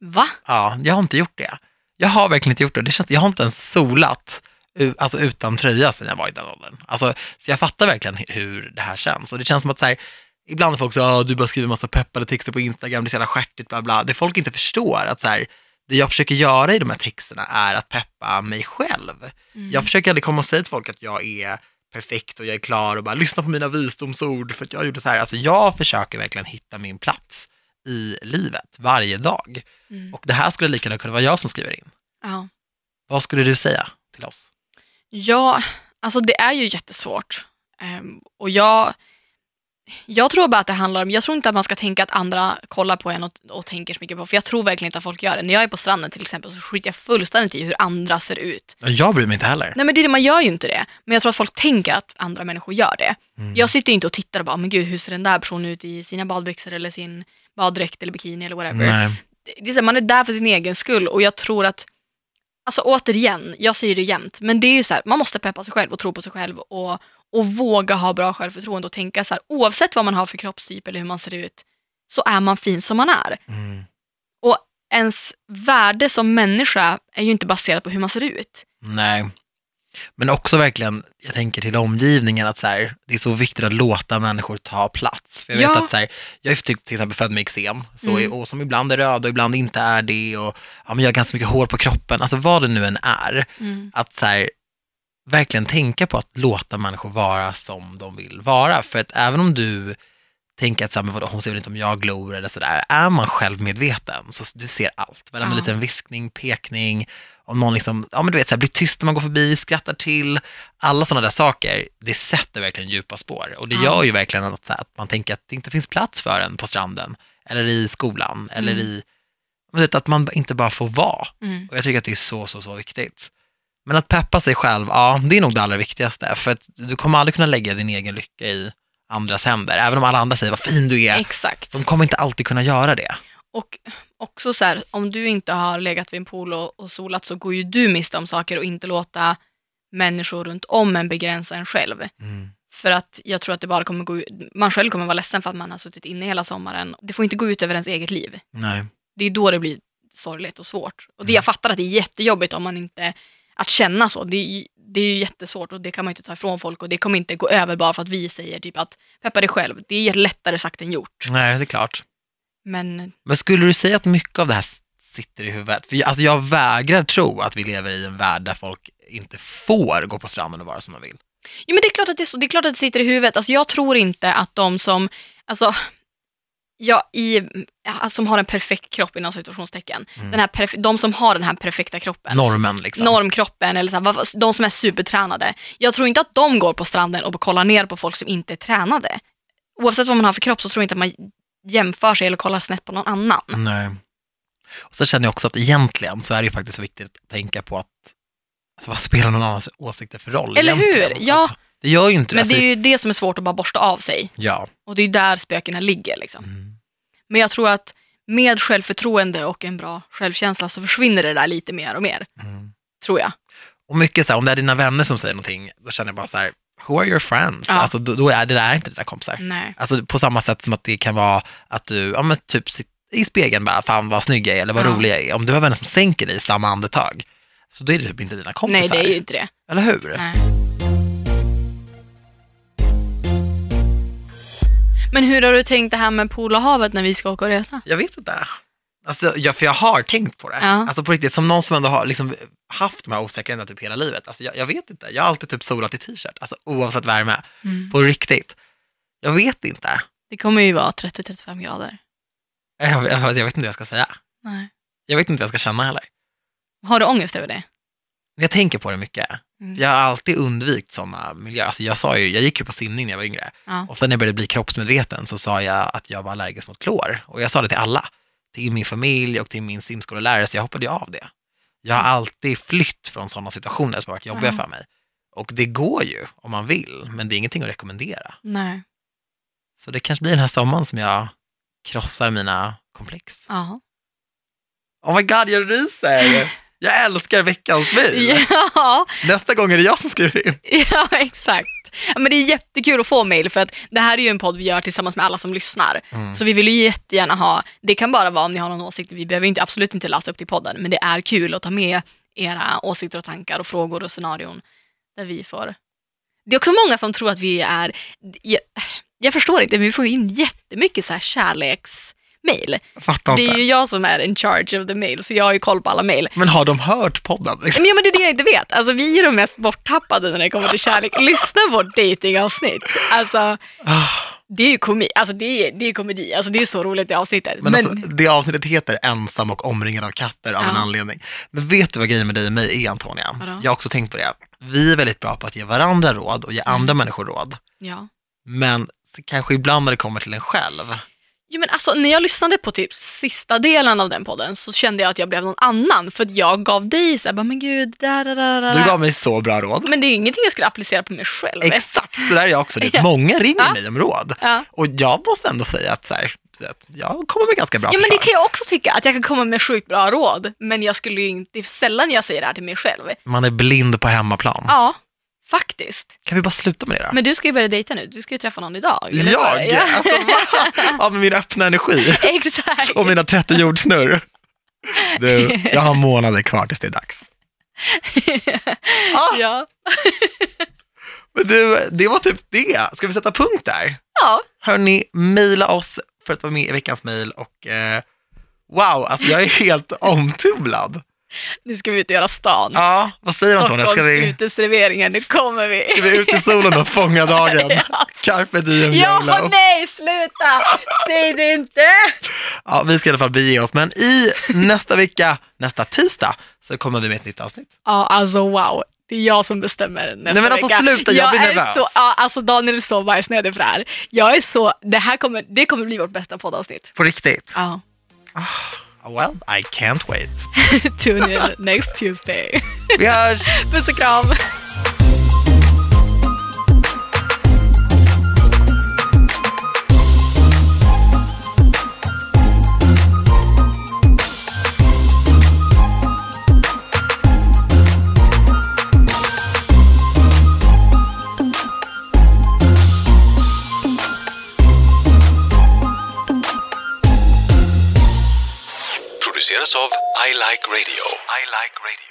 Speaker 2: Va?
Speaker 1: Ja, jag har inte gjort det. Jag har verkligen inte gjort det. det känns, jag har inte ens solat u- alltså utan tröja sen jag var i den åldern. Alltså, så jag fattar verkligen hu- hur det här känns. Och det känns som att så här, ibland är folk så "Ah, du bara skriver massa peppade texter på Instagram, det är så jävla stjärtigt, bla bla. Det folk inte förstår, att så här, det jag försöker göra i de här texterna är att peppa mig själv.
Speaker 2: Mm.
Speaker 1: Jag försöker aldrig komma och säga till folk att jag är perfekt och jag är klar och bara lyssna på mina visdomsord för att jag gjorde så här. Alltså jag försöker verkligen hitta min plats i livet varje dag.
Speaker 2: Mm.
Speaker 1: Och det här skulle lika gärna kunna vara jag som skriver in.
Speaker 2: Ja.
Speaker 1: Vad skulle du säga till oss?
Speaker 2: Ja, alltså det är ju jättesvårt. Ehm, och jag, jag tror bara att det handlar om, jag tror inte att man ska tänka att andra kollar på en och, och tänker så mycket på, för jag tror verkligen inte att folk gör det. När jag är på stranden till exempel så skiter jag fullständigt i hur andra ser ut.
Speaker 1: Jag bryr mig inte heller.
Speaker 2: Nej men det, är det, man gör ju inte det, men jag tror att folk tänker att andra människor gör det.
Speaker 1: Mm.
Speaker 2: Jag sitter ju inte och tittar och bara, men gud hur ser den där personen ut i sina badbyxor eller sin baddräkt eller bikini eller whatever
Speaker 1: Nej.
Speaker 2: det är så här, man är där för sin egen skull och jag tror att, alltså återigen, jag säger det jämt, men det är ju så här, man måste peppa sig själv och tro på sig själv och, och våga ha bra självförtroende och tänka så här, oavsett vad man har för kroppstyp eller hur man ser ut, så är man fin som man är.
Speaker 1: Mm.
Speaker 2: Ens värde som människa är ju inte baserat på hur man ser ut.
Speaker 1: Nej. Men också verkligen, jag tänker till omgivningen att så här, det är så viktigt att låta människor ta plats. För jag vet
Speaker 2: Ja.
Speaker 1: att så här, jag är till till exempel född med eksem, så,
Speaker 2: Mm.
Speaker 1: och som ibland är röd och ibland inte är det. Och, ja, men jag har ganska mycket hår på kroppen, alltså vad det nu än är.
Speaker 2: Mm.
Speaker 1: Att så här, verkligen tänka på att låta människor vara som de vill vara. För att även om du tänker att så här, men vadå, hon ser väl inte om jag glor eller sådär, är man självmedveten så du ser allt. Varenda
Speaker 2: Ja.
Speaker 1: liten viskning, pekning, om någon liksom, ja men du vet, så här, blir tyst när man går förbi, skrattar till, alla sådana där saker, det sätter verkligen djupa spår. Och det
Speaker 2: Ja.
Speaker 1: gör ju verkligen att, så här, att man tänker att det inte finns plats för en på stranden, eller i skolan, eller
Speaker 2: Mm.
Speaker 1: i, men du vet, att man inte bara får vara.
Speaker 2: Mm.
Speaker 1: Och jag tycker att det är så, så, så viktigt. Men att peppa sig själv, ja, det är nog det allra viktigaste. För att du kommer aldrig kunna lägga din egen lycka i andras händer. Även om alla andra säger vad fin du är,
Speaker 2: Exakt.
Speaker 1: de kommer inte alltid kunna göra det.
Speaker 2: Och också så här, om du inte har legat vid en pool och, och solat så går ju du miste om saker och inte låta människor runt om en begränsa en själv. För att jag tror att det bara kommer gå ut, man själv kommer vara ledsen för att man har suttit inne hela sommaren. Det får inte gå ut över ens eget liv.
Speaker 1: Nej.
Speaker 2: Det är då det blir sorgligt och svårt. Och det,
Speaker 1: Mm.
Speaker 2: jag fattar att det är jättejobbigt om man inte, att känna så, det är, ju- det är ju jättesvårt och det kan man ju inte ta ifrån folk och det kommer inte gå över bara för att vi säger typ att peppa dig själv. Det är lättare sagt än gjort.
Speaker 1: Nej, det är klart.
Speaker 2: Men
Speaker 1: Men skulle du säga att mycket av det här sitter i huvudet? För jag, alltså jag vägrar tro att vi lever i en värld där folk inte får gå på stranden och vara som de vill.
Speaker 2: Jo, men det är klart att det, är så, det, är klart att det sitter i huvudet. Alltså, jag tror inte att de som, alltså, ja, i, ja, som har en perfekt kropp inom situationstecken,
Speaker 1: Mm.
Speaker 2: den här perf- de som har den här perfekta kroppen,
Speaker 1: Normen liksom.
Speaker 2: normkroppen, eller så här, vad- de som är supertränade. Jag tror inte att de går på stranden och kollar ner på folk som inte är tränade. Oavsett vad man har för kropp så tror jag inte att man jämför sig eller kollar snett på någon annan.
Speaker 1: Nej. Och så känner jag också att egentligen så är det ju faktiskt så viktigt att tänka på att alltså vad spelar någon annans åsikter för roll?
Speaker 2: Eller hur?
Speaker 1: egentligen?
Speaker 2: Ja.
Speaker 1: Alltså, det gör ju inte det.
Speaker 2: Men det
Speaker 1: Alltså,
Speaker 2: är ju det som är svårt att bara borsta av sig
Speaker 1: Ja.
Speaker 2: och det är ju där spökena ligger. Liksom.
Speaker 1: Mm.
Speaker 2: Men jag tror att med självförtroende och en bra självkänsla så försvinner det där lite mer och mer,
Speaker 1: Mm.
Speaker 2: tror jag.
Speaker 1: Och mycket så här, om det är dina vänner som säger någonting, då känner jag bara så här, who are your friends?
Speaker 2: Ja. Mm.
Speaker 1: Alltså, då, då är det där inte dina kompisar.
Speaker 2: Nej.
Speaker 1: Alltså på samma sätt som att det kan vara att du, ja men typ sitt- i spegeln bara, fan vad snygg jag är eller vad
Speaker 2: Ja.
Speaker 1: rolig jag är. Om du har vänner som sänker dig i samma andetag, så då är det typ inte dina kompisar.
Speaker 2: Nej, det är ju inte det.
Speaker 1: Eller hur?
Speaker 2: Nej. Men hur har du tänkt det här med Polarhavet när vi ska åka och resa?
Speaker 1: Jag vet inte. Alltså, ja, för jag har tänkt på det.
Speaker 2: Ja.
Speaker 1: Alltså på riktigt, som någon som ändå har liksom, haft de här osäkerheterna typ hela livet. Alltså, jag, jag vet inte. Jag har alltid typ solat i t-shirt, alltså, oavsett värme.
Speaker 2: Mm.
Speaker 1: På riktigt. Jag vet inte.
Speaker 2: Det kommer ju vara 30-35 grader.
Speaker 1: Jag, jag, jag vet inte vad jag ska säga.
Speaker 2: Nej.
Speaker 1: Jag vet inte vad jag ska känna heller.
Speaker 2: Har du ångest över det?
Speaker 1: Jag tänker på det mycket.
Speaker 2: Mm.
Speaker 1: Jag har alltid undvikit sådana miljöer. Alltså jag, sa ju, jag gick ju på simning när jag var yngre.
Speaker 2: Ja.
Speaker 1: Och sen när jag började bli kroppsmedveten så sa jag att jag var allergisk mot klor. Och jag sa det till alla. Till min familj och till min simskolelärare, så jag hoppade ju av det. Jag har alltid flytt från sådana situationer som har varit jobbiga
Speaker 2: Ja.
Speaker 1: för mig. Och det går ju om man vill, men det är ingenting att rekommendera.
Speaker 2: Nej.
Speaker 1: Så det kanske blir den här sommaren som jag krossar mina komplex.
Speaker 2: Ja.
Speaker 1: Oh my god, jag ryser!
Speaker 2: (laughs)
Speaker 1: Jag älskar veckans mejl!
Speaker 2: Ja, (laughs)
Speaker 1: Nästa gång är det jag som skriver in.
Speaker 2: ja exakt. Ja, Men det är jättekul att få mejl för att det här är ju en podd vi gör tillsammans med alla som lyssnar.
Speaker 1: Mm.
Speaker 2: Så vi vill ju jättegärna ha, det kan bara vara om ni har någon åsikt, vi behöver ju inte, absolut inte läsa upp till podden, men det är kul att ta med era åsikter och tankar och frågor och scenarion där vi får. Det är också många som tror att vi är, jag, jag förstår inte, men vi får ju in jättemycket så här kärleksmejl.
Speaker 1: Fattar
Speaker 2: Det
Speaker 1: inte.
Speaker 2: är ju jag som är in charge of the mail, så jag har ju koll på alla mail.
Speaker 1: Men har de hört podden? Liksom?
Speaker 2: Men, ja, men det är det jag inte vet. Alltså, vi är de mest borttappade när det kommer till kärlek. Lyssna på vårt datingavsnitt. Alltså,
Speaker 1: Ah.
Speaker 2: det är ju komi. Alltså, det är, det är komedi. Alltså, det är så roligt det avsnittet.
Speaker 1: Men,
Speaker 2: Men,
Speaker 1: Alltså, det avsnittet heter Ensam och omringad av katter av en
Speaker 2: Ja.
Speaker 1: anledning. Men vet du vad grejen med dig och mig är Antonia?
Speaker 2: Vadå?
Speaker 1: Jag har också tänkt på det. Vi är väldigt bra på att ge varandra råd och ge
Speaker 2: Mm.
Speaker 1: andra människor råd.
Speaker 2: ja.
Speaker 1: Men så kanske ibland när det kommer till en själv.
Speaker 2: Jo, men alltså, när jag lyssnade på typ sista delen av den podden så kände jag att jag blev någon annan. För att jag gav dig så här, bara, men gud, där, där, där, där.
Speaker 1: Du gav mig så bra råd.
Speaker 2: Men det är ju ingenting jag skulle applicera på mig själv.
Speaker 1: Exakt, så där är jag också. Det.
Speaker 2: Ja.
Speaker 1: Många ringer
Speaker 2: Ja.
Speaker 1: mig om råd.
Speaker 2: Ja.
Speaker 1: Och jag måste ändå säga att så här, du vet, jag kommer med ganska bra
Speaker 2: Ja, men det
Speaker 1: förslag.
Speaker 2: kan jag också tycka, att jag kan komma med sjukt bra råd, men jag skulle ju inte, det är sällan jag säger det här till mig själv.
Speaker 1: Man är blind på hemmaplan.
Speaker 2: Ja, faktiskt.
Speaker 1: Kan vi bara sluta med det då?
Speaker 2: Men du ska ju börja dejta nu, du ska ju träffa någon idag. eller vad?
Speaker 1: Jag? Alltså, va? Av min öppna energi.
Speaker 2: (laughs) Exakt.
Speaker 1: (laughs)
Speaker 2: (laughs)
Speaker 1: och mina 30 jordsnurr. Du, jag har månader kvar tills det är dags. Ah,
Speaker 2: ja.
Speaker 1: men du, det var typ det. Ska vi sätta punkt där?
Speaker 2: ja,
Speaker 1: Hörni, mejla oss för att vara med i veckans mejl och eh, wow, alltså jag är helt omtumlad.
Speaker 2: nu ska vi ut och göra stan.
Speaker 1: Ja, vad säger Antonija? Ska
Speaker 2: Stockholms
Speaker 1: vi,
Speaker 2: uteserveringen, nu kommer vi.
Speaker 1: ska vi ut i solen och
Speaker 2: (laughs)
Speaker 1: fånga dagen?
Speaker 2: Ja.
Speaker 1: Carpe diem
Speaker 2: Ja,
Speaker 1: YOLO.
Speaker 2: nej, sluta! Säg det inte!
Speaker 1: Ja, vi ska i alla fall bege oss, men i nästa vecka, nästa tisdag, så kommer vi med ett nytt avsnitt.
Speaker 2: Ja, alltså wow. Det är jag som bestämmer nästa
Speaker 1: Nej, men alltså,
Speaker 2: vecka.
Speaker 1: sluta, jag blir
Speaker 2: är
Speaker 1: nervös.
Speaker 2: Så, ja, alltså Daniel är så bajsnödig för det här. Jag är så, det här kommer, det kommer bli vårt bästa poddavsnitt.
Speaker 1: På riktigt.
Speaker 2: Ja,
Speaker 1: Well, I can't wait.
Speaker 2: (laughs) tune in next Tuesday.
Speaker 1: Vi hörs!
Speaker 2: Puss och kram!
Speaker 3: produceras av I Like Radio. I like radio.